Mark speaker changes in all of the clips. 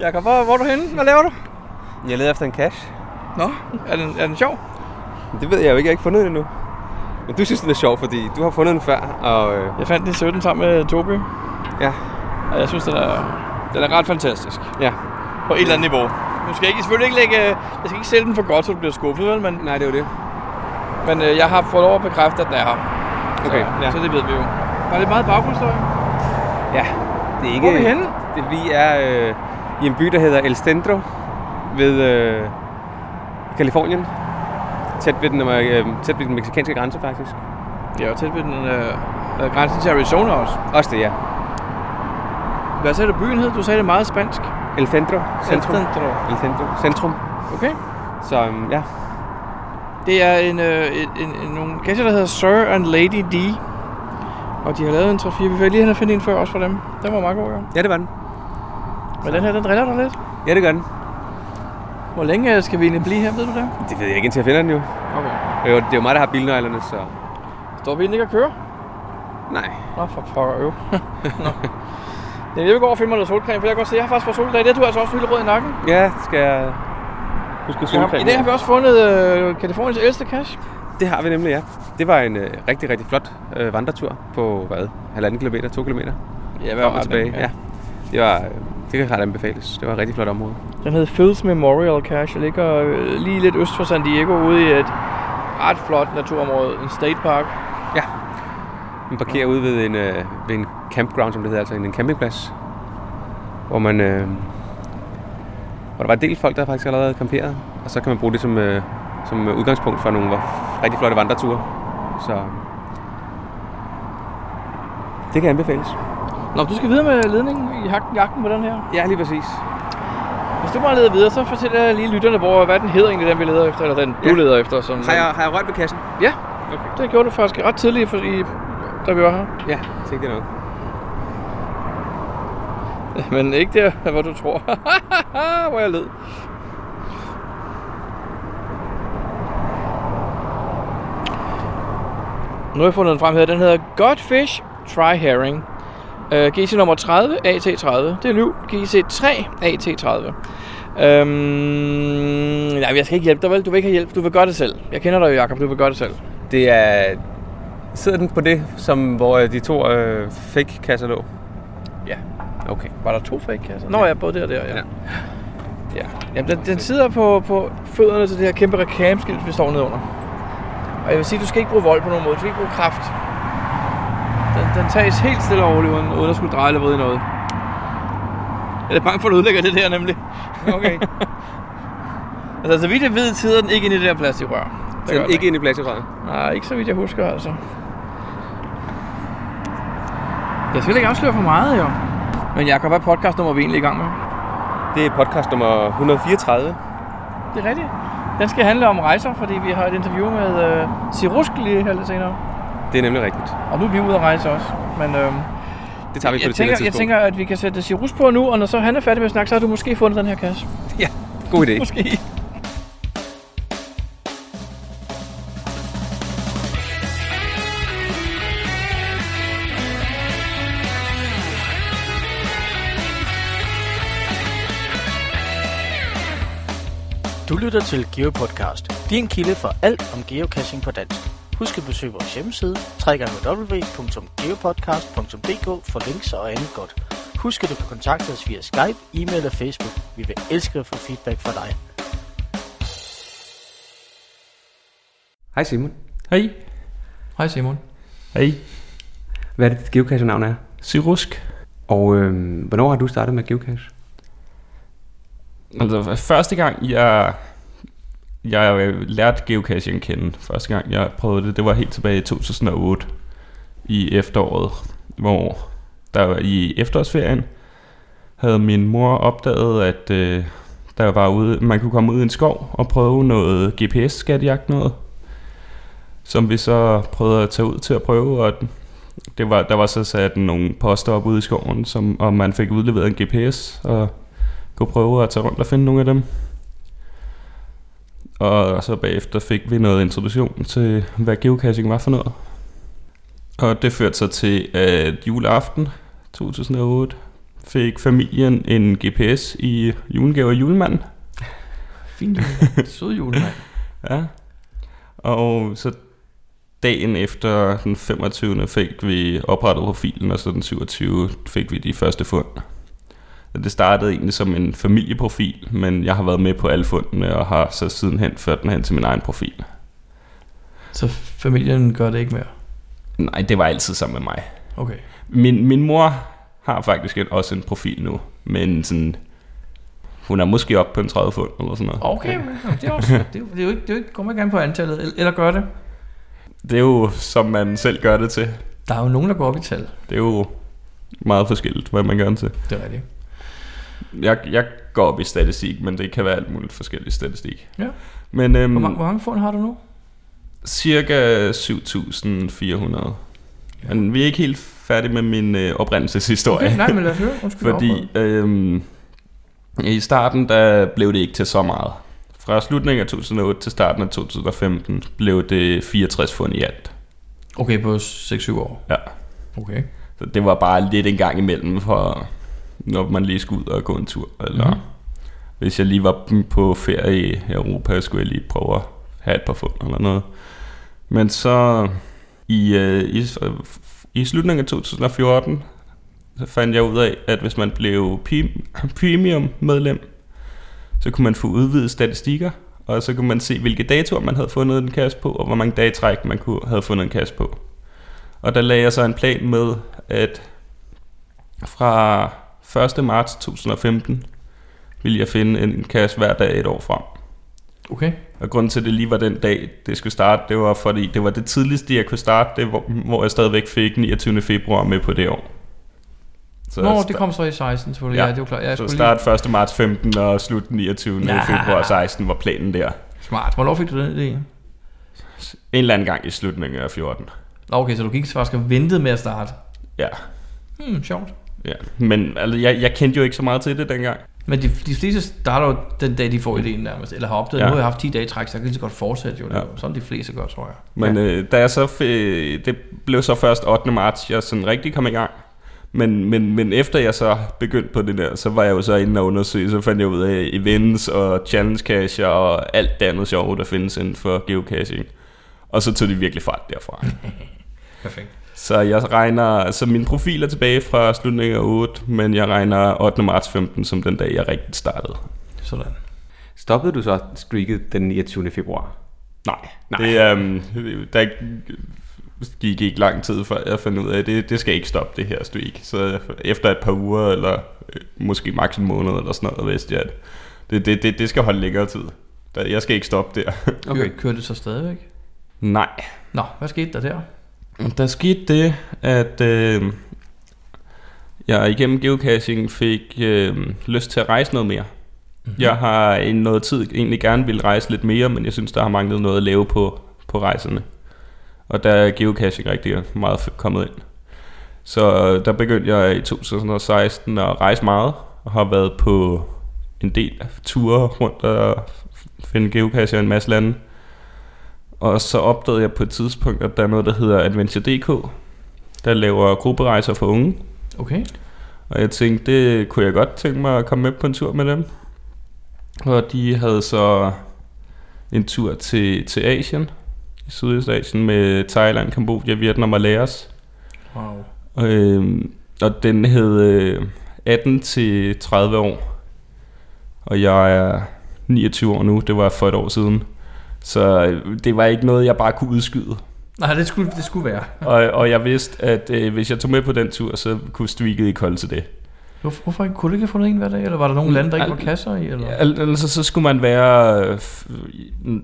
Speaker 1: Jakob, hvor, hvor er du henne? Hvad laver du?
Speaker 2: Jeg leder efter en cash.
Speaker 1: Nå, er den, er den sjov?
Speaker 2: Men det ved jeg jo ikke, jeg har ikke fundet den endnu. Men du synes, den er sjov, fordi du har fundet den før, og øh,
Speaker 1: Jeg fandt den i 17 sammen med Tobi,
Speaker 2: ja,
Speaker 1: og jeg synes, den er, den er ret fantastisk.
Speaker 2: ja.
Speaker 1: På et eller andet niveau. Nu skal jeg ikke, selvfølgelig ikke lægge, øh, jeg skal ikke sælge den for godt, så du bliver skuffet, vel? Men,
Speaker 2: Nej, det er jo det.
Speaker 1: men øh, jeg har fået lov at bekræfte, at den er her.
Speaker 2: Okay,
Speaker 1: så,
Speaker 2: ja.
Speaker 1: så det ved vi jo. Var det meget baggrundsstøj?
Speaker 2: Ja, det er ikke...
Speaker 1: Hvor er vi henne?
Speaker 2: Det, vi er øh, i en by, der hedder El Centro, ved øh, Kalifornien. Tæt ved, den, øh, tæt ved den meksikanske grænse, faktisk.
Speaker 1: Det er jo tæt ved den øh, øh, grænsen til Arizona også.
Speaker 2: Også det, ja.
Speaker 1: Hvad sagde du byen hed? Du sagde det meget spansk.
Speaker 2: El Centro. Centrum.
Speaker 1: Centro.
Speaker 2: El Centro. Centrum.
Speaker 1: Okay.
Speaker 2: Så øhm, ja,
Speaker 1: Det er en, øh, en, en, en, nogle gæster, der hedder Sir and Lady D. Og de har lavet en 3-4. Vi vil lige hen og finde en før også for dem. Den var meget god, ja.
Speaker 2: ja det var den.
Speaker 1: Men den her, den driller dig lidt.
Speaker 2: Ja, det gør den.
Speaker 1: Hvor længe øh, skal vi egentlig blive her, ved du det?
Speaker 2: Det ved jeg ikke, indtil jeg finder den jo.
Speaker 1: Okay.
Speaker 2: Det er jo, det er jo mig, der har bilnøglerne, så...
Speaker 1: Står bilen ikke og kører?
Speaker 2: Nej.
Speaker 1: Nå, for pokker jo. Nå. Jamen, jeg vil gå over og finde mig noget solcreme, for jeg kan godt se, at jeg har faktisk fået sol i dag. Det er du altså også helt rød i nakken.
Speaker 2: Ja, skal jeg... Husk
Speaker 1: Ja, I dag har vi også fundet øh, Kaliforniens ældste cache.
Speaker 2: Det har vi nemlig, ja. Det var en øh, rigtig, rigtig flot øh, vandretur på, hvad, halvanden kilometer, to kilometer.
Speaker 1: Ja,
Speaker 2: Frem og tilbage, ja. Det, var, øh, det kan klart anbefales. Det var et rigtig flot område.
Speaker 1: Den hedder Fields Memorial Cache og ligger øh, lige lidt øst for San Diego ude i et ret flot naturområde, en state park.
Speaker 2: Man parkerer ude ved en, øh, ved en campground, som det hedder, altså en, en campingplads, hvor man... Øh, hvor der var en del folk, der faktisk allerede havde camperet, og så kan man bruge det som, øh, som øh, udgangspunkt for nogle hvor- rigtig flotte vandreture. Så det kan anbefales.
Speaker 1: Nå, du skal videre med ledningen i hak- jagten på den her.
Speaker 2: Ja, lige præcis.
Speaker 1: Hvis du bare leder videre, så fortæl jeg lige lytterne, hvor, hvad den hedder egentlig, den vi leder efter, eller den du
Speaker 2: Ja.
Speaker 1: leder efter. Som
Speaker 2: Har jeg, har jeg rørt ved kassen?
Speaker 1: Ja,
Speaker 2: Okay.
Speaker 1: det gjorde du faktisk ret tidligt, for, i, da vi var her.
Speaker 2: Ja, tænk det nok.
Speaker 1: Men ikke der, hvor du tror. hvor jeg led. Nu har jeg fundet den frem her. Den hedder Godfish Try Herring. Øh, GC nummer 30, AT30. Det er liv. GC3, AT30. Øhm, nej, jeg skal ikke hjælpe dig, vel? Du vil ikke have hjælp. Du vil gøre det selv. Jeg kender dig jo, Jacob. Du vil gøre det selv.
Speaker 2: Det er... Sidder den på det, som, hvor øh, de to øh, fake kasser lå?
Speaker 1: Ja.
Speaker 2: Okay.
Speaker 1: Var der to fake-kasser? Nå ja, både der og der, ja.
Speaker 2: Ja.
Speaker 1: ja. Jamen, den, den sidder på, på fødderne til det her kæmpe reklameskilt, vi står nedenunder. Og jeg vil sige, du skal ikke bruge vold på nogen måde. Du skal ikke bruge kraft. Den, den tages helt stille og roligt, uden, uden at skulle dreje eller vride noget. Jeg er bange for, at du ødelægger det der, nemlig.
Speaker 2: Okay.
Speaker 1: Altså, så vidt jeg ved, sidder den ikke inde i det der plastikrør. Det
Speaker 2: Så
Speaker 1: gør den
Speaker 2: ikke ind i plastikrøret?
Speaker 1: Nej, ikke så vidt jeg husker, altså. Jeg skal ikke afsløre for meget, jo. Men Jacob, hvad podcast nummer er vi egentlig i gang med?
Speaker 2: Det er podcast nummer 134.
Speaker 1: Det er rigtigt. Den skal handle om rejser, fordi vi har et interview med øh, Sirusk lige her lidt senere.
Speaker 2: Det er nemlig rigtigt.
Speaker 1: Og nu er vi ude at rejse også. Men øh,
Speaker 2: Det tager vi
Speaker 1: jeg,
Speaker 2: på det senere
Speaker 1: tænker, jeg
Speaker 2: tidspunkt.
Speaker 1: tænker, at vi kan sætte Sirus på nu, og når så han er færdig med at snakke, så har du måske fundet den her kasse.
Speaker 2: Ja, god idé.
Speaker 1: Måske.
Speaker 3: Du lytter til GeoPodcast, din kilde for alt om geocaching på dansk. Husk at besøge vores hjemmeside, www.geopodcast.dk for links og andet godt. Husk at du kan kontakte os via Skype, e-mail og Facebook. Vi vil elske at få feedback fra dig.
Speaker 2: Hej Simon.
Speaker 4: Hej.
Speaker 1: Hej Simon.
Speaker 4: Hej.
Speaker 2: Hvad er det, dit geocache-navn er?
Speaker 4: Sirusk.
Speaker 2: Og øh, hvornår har du startet med geocache?
Speaker 4: Altså, første gang, jeg, jeg øh, lærte geocaching at kende, første gang, jeg prøvede det, det var helt tilbage i 2008 i efteråret, hvor der var i efterårsferien havde min mor opdaget, at øh, der var ude, man kunne komme ud i en skov og prøve noget GPS-skattejagt noget, som vi så prøvede at tage ud til at prøve, og den- det var, der var så sat nogle poster op ude i skoven, som, og man fik udleveret en GPS, og kunne prøve at tage rundt og finde nogle af dem. Og så bagefter fik vi noget introduktion til, hvad geocaching var for noget. Og det førte så til, at juleaften 2008 fik familien en GPS i julegave af julemanden.
Speaker 1: Fint julemand. Sød julemand.
Speaker 4: Ja. Og så dagen efter den 25. fik vi oprettet profilen, og så den 27. fik vi de første fund. Så Det startede egentlig som en familieprofil, men jeg har været med på alle fundene, og har så sidenhen ført den hen til min egen profil.
Speaker 1: Så familien gør det ikke mere.
Speaker 4: Nej, det var altid sammen med mig.
Speaker 1: Okay.
Speaker 4: Min, min mor har faktisk en, også en profil nu, men sådan, hun er måske oppe på en 30 fund eller sådan noget.
Speaker 1: Okay, men det er, også, det, er, jo- det er jo ikke, det er jo ikke, kommer ikke an på antallet, el- eller gør det.
Speaker 4: Det er jo, som man selv gør det til.
Speaker 1: Der er jo nogen, der går op i tal.
Speaker 4: Det er jo meget forskelligt, hvad man gør det til.
Speaker 1: Det er rigtigt.
Speaker 4: Jeg, jeg går op i statistik, men det kan være alt muligt forskelligt statistik.
Speaker 1: Ja.
Speaker 4: Men
Speaker 1: Hvor, mange,
Speaker 4: øhm,
Speaker 1: hvor mange fund har du nu?
Speaker 4: cirka 7.400.
Speaker 1: Ja.
Speaker 4: Men vi er ikke helt færdige med min øh, oprindelseshistorie.
Speaker 1: Okay, nej, men lad os høre. Undskyld,
Speaker 4: Fordi
Speaker 1: afbrød.
Speaker 4: øhm, i starten der blev det ikke til så meget. Fra slutningen af 2008 til starten af 2015 blev det 64 fund i alt.
Speaker 1: Okay, på 6-7 år.
Speaker 4: Ja.
Speaker 1: Okay.
Speaker 4: Så det var bare lidt en gang imellem, for, når man lige skulle ud og gå en tur. Eller
Speaker 1: Mhm.
Speaker 4: mm. hvis jeg lige var på ferie i Europa, skulle jeg lige prøve at have et par fund eller noget. Men så i, øh, i, i slutningen af 2014, så fandt jeg ud af, at hvis man blev prim- premium medlem, så kunne man få udvidet statistikker, og så kunne man se, hvilke datoer man havde fundet en kasse på, og hvor mange dage i træk man kunne, havde fundet en kasse på. Og der lagde jeg så en plan med, at fra 1. marts 2015 ville jeg finde en kasse hver dag et år frem.
Speaker 1: Okay.
Speaker 4: Og grunden til, at det lige var den dag, det skulle starte, det var, fordi det var det tidligste, jeg kunne starte, det, hvor, hvor jeg stadigvæk fik 29. februar med på det år. Så,
Speaker 1: Nå, det kom så i 16, selvfølgelig. Ja,
Speaker 4: Ja.
Speaker 1: ja det er jo klart. Jeg
Speaker 4: så
Speaker 1: skulle
Speaker 4: start 1. marts 15 og slut 29.
Speaker 1: Ja.
Speaker 4: februar 16 var planen der.
Speaker 1: lige... Smart. Hvornår fik du den idé?
Speaker 4: En eller anden gang i slutningen af 14.
Speaker 1: Nå, okay, så du gik faktisk og ventede med at starte.
Speaker 4: Ja,
Speaker 1: Hmm, sjovt.
Speaker 4: ja. Men altså, jeg, jeg kendte jo ikke så meget til det dengang.
Speaker 1: Men de, de fleste starter jo den dag, de får idéen nærmest, eller har opdaget, ja.
Speaker 4: Ja.
Speaker 1: nu har jeg haft 10 dage i træk, så jeg kan lige så godt fortsætte jo.
Speaker 4: Ja.
Speaker 1: Ja. Sådan de fleste gør, tror jeg.
Speaker 4: Men ja. øh, da jeg så f- øh, det blev så først 8. marts, jeg sådan rigtig kom i gang. Men, men, men efter jeg så begyndte på det der, så var jeg jo så inde og undersøge, så fandt jeg ud af events og challenge cache og alt det andet sjove, der findes inden for geocaching. Og så tog det virkelig fart derfra.
Speaker 1: Perfekt.
Speaker 4: så jeg regner, så min profil er tilbage fra slutningen af 8, men jeg regner 8. marts 15 som den dag, jeg rigtig startede.
Speaker 1: Sådan.
Speaker 2: Stoppede du så streaket den 29. februar?
Speaker 4: Nej,
Speaker 2: Nej.
Speaker 4: Nej. Det, øhm, der gik ikke lang tid, før jeg fandt ud af, at det, det skal ikke stoppe det her streak. Så efter et par uger, eller øh, måske maks en måned, eller sådan noget, vidste jeg, at det, det, det, det skal holde længere tid. Der- Jeg skal ikke stoppe der.
Speaker 1: Okay. Kører, kører det så stadigvæk?
Speaker 4: Nej.
Speaker 1: Nå, hvad skete der der?
Speaker 4: Der skete det, at øh, jeg igennem geocaching fik øh, lyst til at rejse noget mere. Mm-hmm. Jeg har i noget tid egentlig gerne ville rejse lidt mere, men jeg synes, der har manglet noget at lave på, på rejserne. Og der er geocaching rigtig meget f- kommet ind. Så øh, der begyndte jeg i 2016 at rejse meget, og har været på en del ture rundt og finde geocacher i en masse lande. Og så opdagede jeg på et tidspunkt, at der er noget, der hedder Adventure.dk, der laver grupperejser for unge.
Speaker 1: Okay.
Speaker 4: Og jeg tænkte, det kunne jeg godt tænke mig at komme med på en tur med dem. Og de havde så en tur til, til Asien, i Sydøstasien med Thailand, Kambodja, Vietnam og Laos.
Speaker 1: Wow.
Speaker 4: Øhm, og den hed øh, 18 til 30 år. Og jeg er 29 år nu, det var for et år siden. Så øh, det var ikke noget, jeg bare kunne udskyde.
Speaker 1: Nej, det skulle, det skulle være.
Speaker 4: Og, og jeg vidste, at øh, hvis jeg tog med på den tur, så kunne streaket ikke holde til det.
Speaker 1: Hvorfor, hvorfor ikke? kunne du ikke have fundet en hver dag? Eller var der nogle lande, der ikke
Speaker 4: Al-
Speaker 1: var kasser i? Eller?
Speaker 4: Al- Altså, så skulle man være øh, f- n-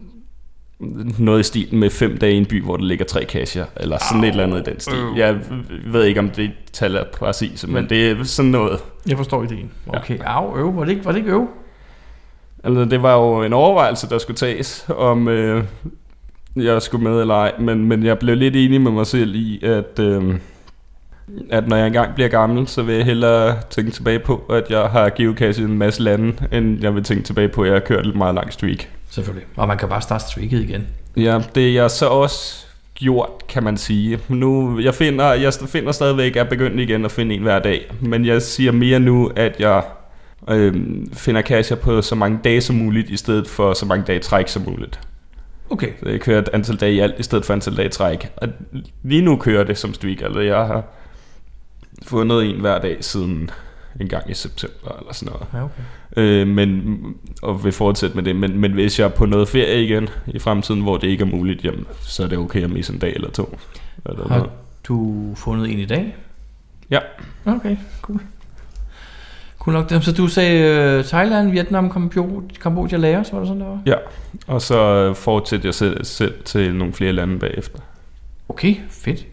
Speaker 4: noget i stil med fem dage i en by, hvor der ligger tre kasser, eller sådan et eller andet i den stil. Jeg ved ikke, om det tal er præcis, men det er sådan noget.
Speaker 1: Jeg forstår ideen.
Speaker 4: Ja.
Speaker 1: Okay, au, øv. Var det ikke, var det ikke øv?
Speaker 4: Altså, det var jo en overvejelse, der skulle tages, om øh, jeg skulle med eller ej. Men, men jeg blev lidt enig med mig selv i, at, øh, at når jeg engang bliver gammel, så vil jeg hellere tænke tilbage på, at jeg har geocachet i en masse lande, end jeg vil tænke tilbage på, at jeg har kørt et meget langt streak.
Speaker 1: Selvfølgelig. Og man kan bare starte streaket igen.
Speaker 4: Ja, det jeg så også gjort, kan man sige. Nu, jeg, finder, jeg finder stadigvæk, at jeg er begyndt igen at finde en hver dag, men jeg siger mere nu, at jeg øh, finder kasser på så mange dage som muligt, i stedet for så mange dage i træk som muligt.
Speaker 5: Okay.
Speaker 4: Så jeg kører et antal dage i alt, i stedet for antal dage i træk. Og lige nu kører det som streak, altså jeg har fundet en hver dag siden en gang i september eller sådan noget.
Speaker 5: Ja, okay.
Speaker 4: Øh, men, og vil fortsætte med det. Men, men hvis jeg er på noget ferie igen i fremtiden, hvor det ikke er muligt, jamen, så er det okay at misse en dag eller to. Eller noget.
Speaker 5: Har du fundet en i dag?
Speaker 4: Ja.
Speaker 5: Okay, cool. Cool nok. Så du sagde øh, Thailand, Vietnam, Kambodja, Kambodja Laos, var det sådan, der var?
Speaker 4: ja. Og så fortsætter jeg selv, selv til nogle flere lande bagefter.
Speaker 5: Okay, fedt.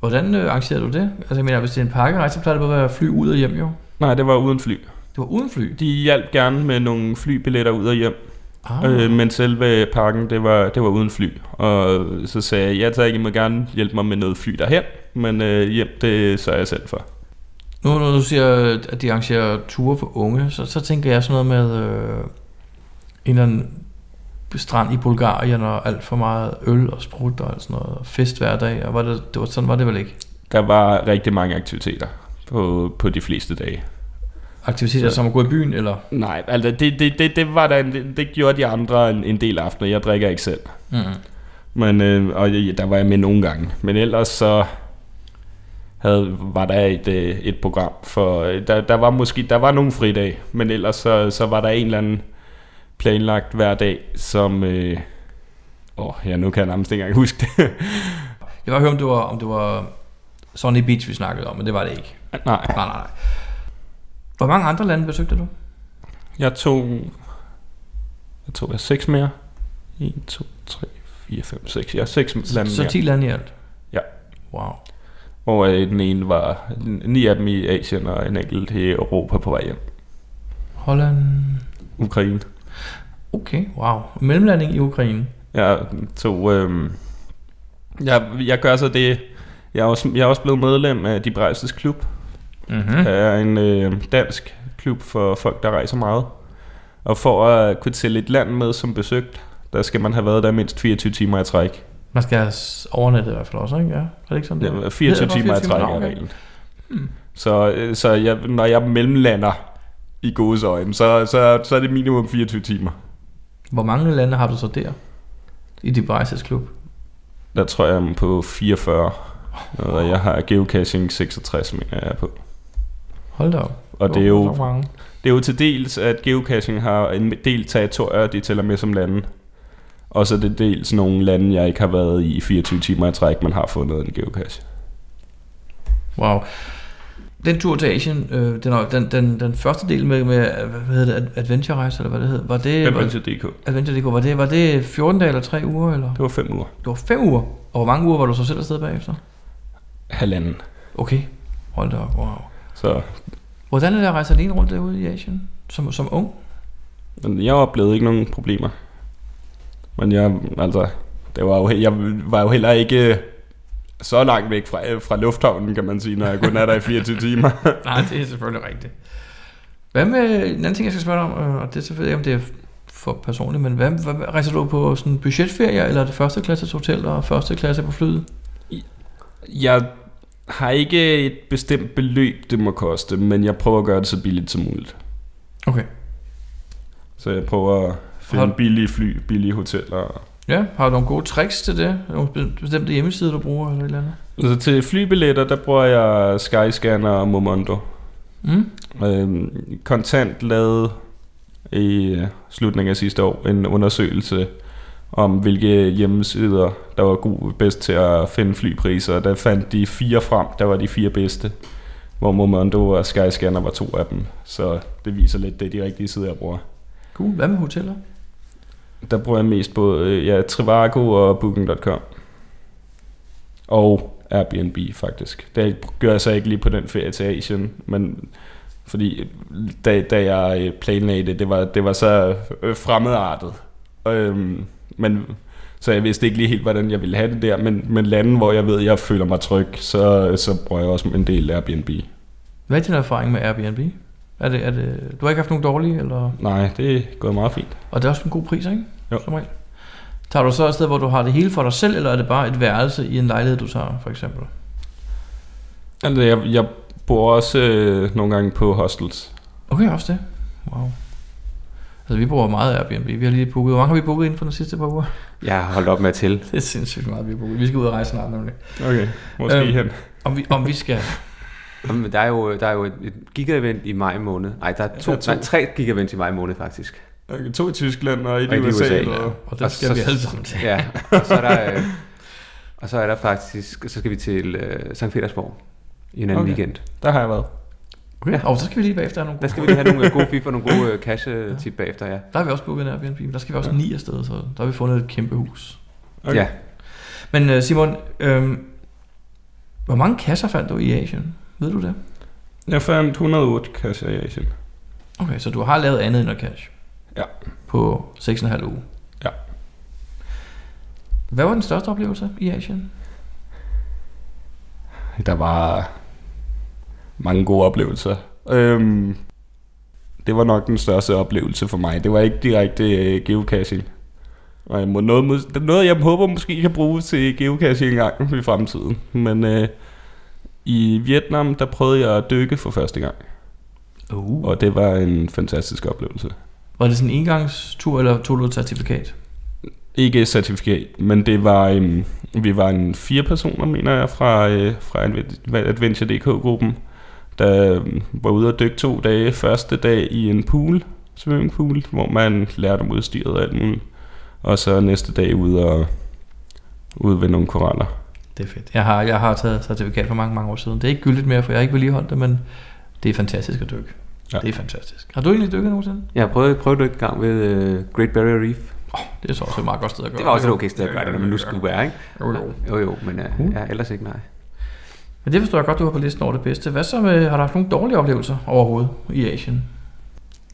Speaker 5: Hvordan øh, arrangerede du det? Altså jeg mener, hvis det er en pakkerejse, så plejer det bare at være fly ud og hjem jo.
Speaker 4: Nej, det var uden fly.
Speaker 5: Det var uden fly.
Speaker 4: De hjalp gerne med nogle flybilletter ud og hjem.
Speaker 5: Ah,
Speaker 4: Øh, men selve pakken, det var, det var uden fly. Og så sagde jeg, ja tak, I må gerne hjælpe mig med noget fly derhen, men øh, hjem, det sørger jeg selv for.
Speaker 5: Nu når du siger, at de arrangerer ture for unge, så, så tænker jeg sådan noget med øh, en eller anden strand i Bulgarien og alt for meget øl og sprut og alt sådan noget, og fest hver dag, og var det, det var, sådan var det vel ikke?
Speaker 4: Der var rigtig mange aktiviteter på, på de fleste dage.
Speaker 5: Aktiviteter som at gå i byen, eller?
Speaker 4: Nej, altså det, det, det, det, var der en, det gjorde de andre en, en del aftener. Jeg drikker ikke selv.
Speaker 5: Mm.
Speaker 4: Men, øh, og jeg- der var jeg med nogle gange. Men ellers så havde, var der et, øh, et program for... øh, Der, der var måske der var nogle fridage, men ellers så, så var der en eller anden planlagt hver dag, som... Øh, åh, ja, nu kan jeg nærmest ikke engang huske det.
Speaker 5: Jeg var høre, om det var, om det var Sunny Beach, vi snakkede om, men det var det ikke.
Speaker 4: Ah, Nej,
Speaker 5: Nej, nej, nej. Hvor mange andre lande besøgte du?
Speaker 4: jeg tog... Jeg tog jeg seks mere. 1, 2, 3, 4, 5, 6. Ja, seks lande
Speaker 5: Så
Speaker 4: mere.
Speaker 5: 10 lande i alt?
Speaker 4: Ja.
Speaker 5: Wow.
Speaker 4: Og øh, den ene var ni af dem i Asien og en enkelt i Europa på vej hjem.
Speaker 5: Holland.
Speaker 4: Ukraine.
Speaker 5: Okay, wow. Mellemlanding i Ukraine.
Speaker 4: Jeg tog... Øh, jeg, jeg gør så det... Jeg er, også, jeg er også blevet medlem af De Brejses Klub.
Speaker 5: Mm-hmm.
Speaker 4: Der er en øh, dansk klub for folk, der rejser meget. Og for at kunne tælle et land med som besøgt, der skal man have været der mindst 24 timer i træk.
Speaker 5: Man skal have s- overnatte i hvert fald også, ikke? Ja. Er det ikke sådan?
Speaker 4: Ja, 24
Speaker 5: Hedder det
Speaker 4: Øh, timer i
Speaker 5: bare 24
Speaker 4: træk
Speaker 5: Nå,
Speaker 4: er
Speaker 5: okay.
Speaker 4: reglen. Så, øh, så jeg, når jeg mellemlander i gode øjne, så, så, så er det minimum 24 timer.
Speaker 5: Hvor mange lande har du så der? I Devices klub?
Speaker 4: Der tror jeg, jeg er på 44. Og jeg har geocaching 66, mener jeg jeg er på.
Speaker 5: Hold da op.
Speaker 4: Og det er
Speaker 5: Så
Speaker 4: jo,
Speaker 5: mange.
Speaker 4: det er jo til dels, at geocaching har en del territorier, de tæller med som lande. Og så er det dels nogle lande, jeg ikke har været i i 24 timer i træk, man har fundet en geocache.
Speaker 5: Wow. Den tur til Asien, øh, den, den, den, den første del med, med hvad hedder det, Adventure Rejse, eller hvad det hed, var det, var,
Speaker 4: DK?
Speaker 5: Adventure.dk, var det, var det 14 dage eller 3 uger, eller?
Speaker 4: Det var fem uger.
Speaker 5: Det var 5 uger. Og hvor mange uger var du så selv afsted bagefter?
Speaker 4: Halvanden.
Speaker 5: Okay. Hold da op, wow.
Speaker 4: Så
Speaker 5: Hvordan er det at rejse alene rundt derude i Asien? Som, som ung?
Speaker 4: men jeg oplevede ikke nogen problemer. Men jeg, altså, det var jo, he- jeg var jo heller ikke øh, så langt væk fra, øh, fra lufthavnen, kan man sige, når jeg kun er der i 24 timer.
Speaker 5: Nej, det er selvfølgelig rigtigt. Hvad med en anden ting, jeg skal spørge dig om, øh, og det er selvfølgelig, om det er for personligt, men hvad, hvad rejser du på sådan en budgetferie, eller er det første klasses hotel og første klasse på flyet?
Speaker 4: Jeg har ikke et bestemt beløb, det må koste, men jeg prøver at gøre det så billigt som muligt.
Speaker 5: Okay.
Speaker 4: Så jeg prøver at finde
Speaker 5: Har-
Speaker 4: billige fly, billige hoteller.
Speaker 5: Ja, har du nogle gode tricks til det? Nogle be- bestemte hjemmesider, du bruger, eller et eller andet?
Speaker 4: Altså til flybilletter, der bruger jeg Skyscanner og Momondo.
Speaker 5: Mm?
Speaker 4: Øhm, kontant lavede i øh, slutningen af sidste år en undersøgelse om, hvilke hjemmesider, der var god, bedst til at finde flypriser. Der fandt de fire frem, der var de fire bedste, hvor Momondo og Skyscanner var to af dem. Så det viser lidt, det er de rigtige sider, jeg bruger.
Speaker 5: Cool. Hvad med hoteller?
Speaker 4: Der bruger jeg mest både øh, ja, Trivago og Booking.com. Og Airbnb faktisk. Det gør jeg så ikke lige på den ferie til Asien, men fordi øh, da, da jeg øh, planlagde det, det var, det var så øh, fremmedartet. Øhm, men, så jeg vidste ikke lige helt, hvordan jeg ville have det der, men, men lande, hvor jeg ved, jeg føler mig tryg, så, så bruger jeg også en del Airbnb.
Speaker 5: Hvad er din erfaring med Airbnb? Er det, er det, du har ikke haft nogen dårlige, eller?
Speaker 4: Nej, det er gået meget fint.
Speaker 5: Og det er også en god pris, ikke?
Speaker 4: Jo.
Speaker 5: Som regel. Tager du så et sted, hvor du har det hele for dig selv, eller er det bare et værelse i en lejlighed, du tager, for eksempel?
Speaker 4: Altså, jeg, jeg bor også øh, nogle gange på hostels.
Speaker 5: Okay, også det. Wow. Altså, vi bruger meget Airbnb. Vi har lige booket. Hvor mange har vi booket inden for den sidste par uger?
Speaker 2: Jeg har holdt op med at tælle.
Speaker 5: Det er sindssygt meget, vi har booket. Vi skal ud og rejse snart, nemlig.
Speaker 4: Okay, hvor skal
Speaker 5: Øhm.
Speaker 4: I hen?
Speaker 5: Om vi, om vi skal...
Speaker 2: Jamen, der er jo, der er jo et, et giga-event i maj måned. Nej, der er, to,
Speaker 4: der er to.
Speaker 2: Nej, tre giga-events i maj måned, faktisk.
Speaker 4: Okay, to i Tyskland og et
Speaker 2: Og
Speaker 4: i
Speaker 2: et i
Speaker 4: USA.
Speaker 2: USA,
Speaker 4: USA
Speaker 2: ja.
Speaker 4: og...
Speaker 5: Og der skal
Speaker 2: så-
Speaker 5: vi alle sammen til.
Speaker 2: Ja, og så er der, øh, og så er der faktisk, så skal vi til øh, St. Petersborg i en anden
Speaker 4: Okay.
Speaker 2: okay. weekend.
Speaker 4: Der har jeg været.
Speaker 5: Okay. Og så skal vi lige bagefter have nogle
Speaker 2: Der
Speaker 5: gode...
Speaker 2: skal vi lige have nogle øh, gode fif og nogle gode øh, cash øh, tip bagefter, ja.
Speaker 5: Der har vi også booket en Airbnb, men der skal vi også ni afsted, så der har vi fundet et kæmpe hus.
Speaker 4: Okay.
Speaker 2: Ja,
Speaker 5: Men øh, Simon, øh, hvor mange kasser fandt du i Asien? Ved du det?
Speaker 4: Jeg fandt 108 kasser i Asien.
Speaker 5: Okay, så du har lavet andet end at cash?
Speaker 4: Ja.
Speaker 5: På 6,5 uge?
Speaker 4: Ja.
Speaker 5: Hvad var den største oplevelse i Asien?
Speaker 4: Der var mange gode oplevelser. Øhm, det var nok den største oplevelse for mig. Det var ikke direkte øh, geocaching. Og jeg må noget, mås- det er noget, jeg håber måske kan bruge til geocaching engang i fremtiden. Men øh, i Vietnam, der prøvede jeg at dykke for første gang.
Speaker 5: Uh.
Speaker 4: Og det var en fantastisk oplevelse.
Speaker 5: Var det sådan en engangstur, eller tog du et certifikat?
Speaker 4: Ikke et certifikat, men det var, øhm, vi var en fire personer, mener jeg, fra, øh, fra Adven- Adventure.dk-gruppen, der øhm, var ude og dykke to dage. Første dag i en pool, swimmingpool, hvor man lærte om udstyret og alt muligt. Og så næste dag ude, og, ude ved nogle koraller.
Speaker 5: Det er fedt. Jeg har, jeg har taget certifikat for mange, mange år siden. Det er ikke gyldigt mere, for jeg har ikke vedligeholdt det, men det er fantastisk at dykke. Ja.
Speaker 4: Ja.
Speaker 5: Det er fantastisk. Har du egentlig dykket nogensinde?
Speaker 2: jeg har prøvet, prøvet det en gang ved øh, Great Barrier Reef.
Speaker 5: Det er så også et meget godt sted at gøre.
Speaker 2: Det var også et okay sted at gøre det, når man nu skulle være, ikke?
Speaker 5: Jo, jo. Uh.
Speaker 2: Jo, jo, men øh, ja, ellers ikke, nej.
Speaker 5: Men det forstår jeg godt, du har på listen over det bedste. Hvad så med, har du haft nogle dårlige oplevelser overhovedet i Asien?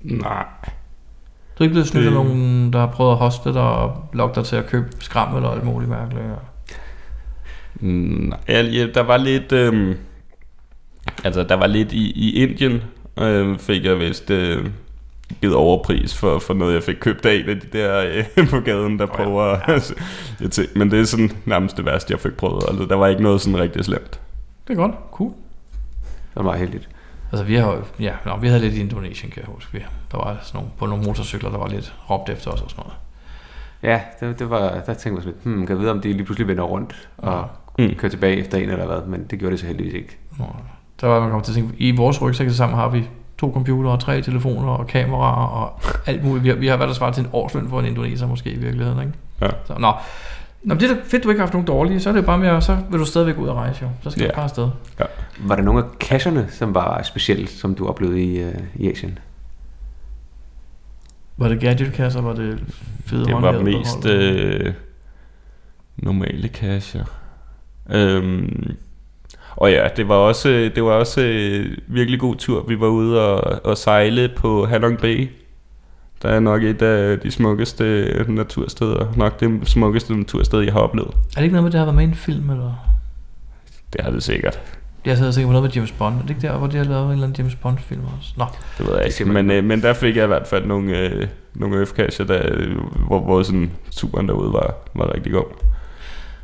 Speaker 4: Nej.
Speaker 5: Du er ikke blevet snydt af
Speaker 4: Det-
Speaker 5: nogen, der har prøvet at hoste dig og lokke dig til at købe skram eller alt muligt mærkeligt?
Speaker 4: Mm, ja, ja, der var lidt... Øhm, altså, der var lidt i, i Indien, øh, fik jeg vist øh, givet overpris for, for noget, jeg fik købt af en af de der øh, på gaden, der oh, prøver... Ja. Altså, jeg tænkte, men det er sådan nærmest det værste, jeg fik prøvet. Altså, der var ikke noget sådan rigtig slemt.
Speaker 5: Det er godt. Cool.
Speaker 2: Det var meget heldigt.
Speaker 5: Altså, vi har jo- ja, nå, vi havde lidt i Indonesien, kan jeg huske. Vi, der var sådan nogle, på nogle motorcykler, der var lidt råbt efter os og sådan noget.
Speaker 2: Ja, det, det var, der tænkte jeg sådan lidt, hmm, kan jeg vide, om de lige pludselig vender rundt
Speaker 5: Ah.
Speaker 2: og
Speaker 4: Mm.
Speaker 2: kører tilbage efter en eller hvad, men det gjorde det så heldigvis ikke.
Speaker 5: Nå, Der var man kommet til at tænke, i vores rygsæk sammen har vi to computere, tre telefoner og kameraer og alt muligt. Vi har, vi har været der svaret til en årsløn for en indoneser måske i virkeligheden, ikke?
Speaker 4: Ja.
Speaker 5: Så, nå. nå men det er da fedt, du ikke har haft nogen dårlige. Så er det jo bare med, at- så vil du stadigvæk ud og rejse jo. Så skal
Speaker 4: Ja.
Speaker 5: du bare afsted.
Speaker 2: Var der nogle af kasserne, som var specielle, som du oplevede i, øh, i Asien?
Speaker 5: Var det gadgetkasser, var det fede
Speaker 4: Det var
Speaker 5: håndhævede
Speaker 4: mest
Speaker 5: behold?
Speaker 4: øh, normale kasser. Øhm, og ja, det var også, det var også øh, virkelig god tur. Vi var ude og, og sejle på Halong Bay. Der er nok et af de smukkeste øh, natursteder. Nok det smukkeste natursted, jeg har oplevet.
Speaker 5: Er det ikke noget med, det har været med i en film, eller?
Speaker 4: Det har det sikkert.
Speaker 5: Jeg sad og tænkte på noget med James Bond. Er det ikke der, hvor de har lavet en eller anden James Bond-film også? Nå,
Speaker 4: Det ved jeg
Speaker 2: Det ser
Speaker 4: ikke.
Speaker 2: man
Speaker 4: Men, øh, men der fik jeg i hvert fald nogle, øh, nogle øf-kasser, der, øh, hvor, hvor sådan, turen derude var, var rigtig god.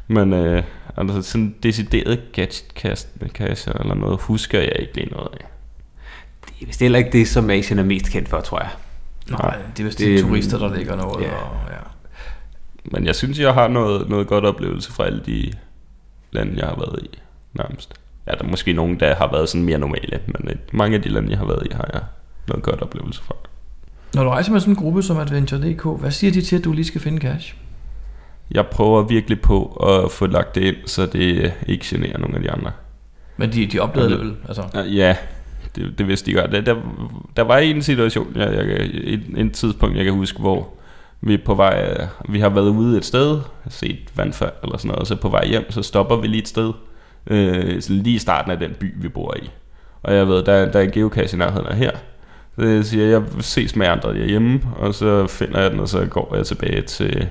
Speaker 4: Men øh, altså sådan decideret gadgetkasser eller noget, husker jeg ikke lige noget af.
Speaker 2: Det er vist heller ikke det, som Asien er mest kendt for, tror jeg.
Speaker 5: nej, det er vist
Speaker 2: Det-
Speaker 5: de turister, der ligger noget.
Speaker 2: ja.
Speaker 5: Og, ja.
Speaker 4: Men jeg synes, jeg har noget, noget godt oplevelse fra alle de lande, jeg har været i nærmest. Ja, der er måske nogen, der har været sådan mere normale, men øh, mange af de lande, jeg har været i, har jeg noget godt oplevelse fra.
Speaker 5: Når du rejser med sådan en gruppe som Adventure.dk, hvad siger de til, at du lige skal finde cash?
Speaker 4: Jeg prøver virkelig på at få lagt det ind, så det øh, ikke generer nogen af de andre.
Speaker 5: Men de, de opdagede det
Speaker 4: Jamen,
Speaker 5: vel, altså.
Speaker 4: Øh, Ja, det, det vidste de godt. Der, der, der var en situation, jeg, jeg, kan- et, et tidspunkt, jeg kan huske, hvor vi er på vej, vi har været ude et sted, set vandfald eller sådan noget, og så på vej hjem, så stopper vi lige et sted, øh, sådan lige i starten af den by, vi bor i. Og jeg ved, der, der er en geocache i nærheden af her. Så jeg siger, jeg ses med andre derhjemme, og så finder jeg den, og så går jeg tilbage til,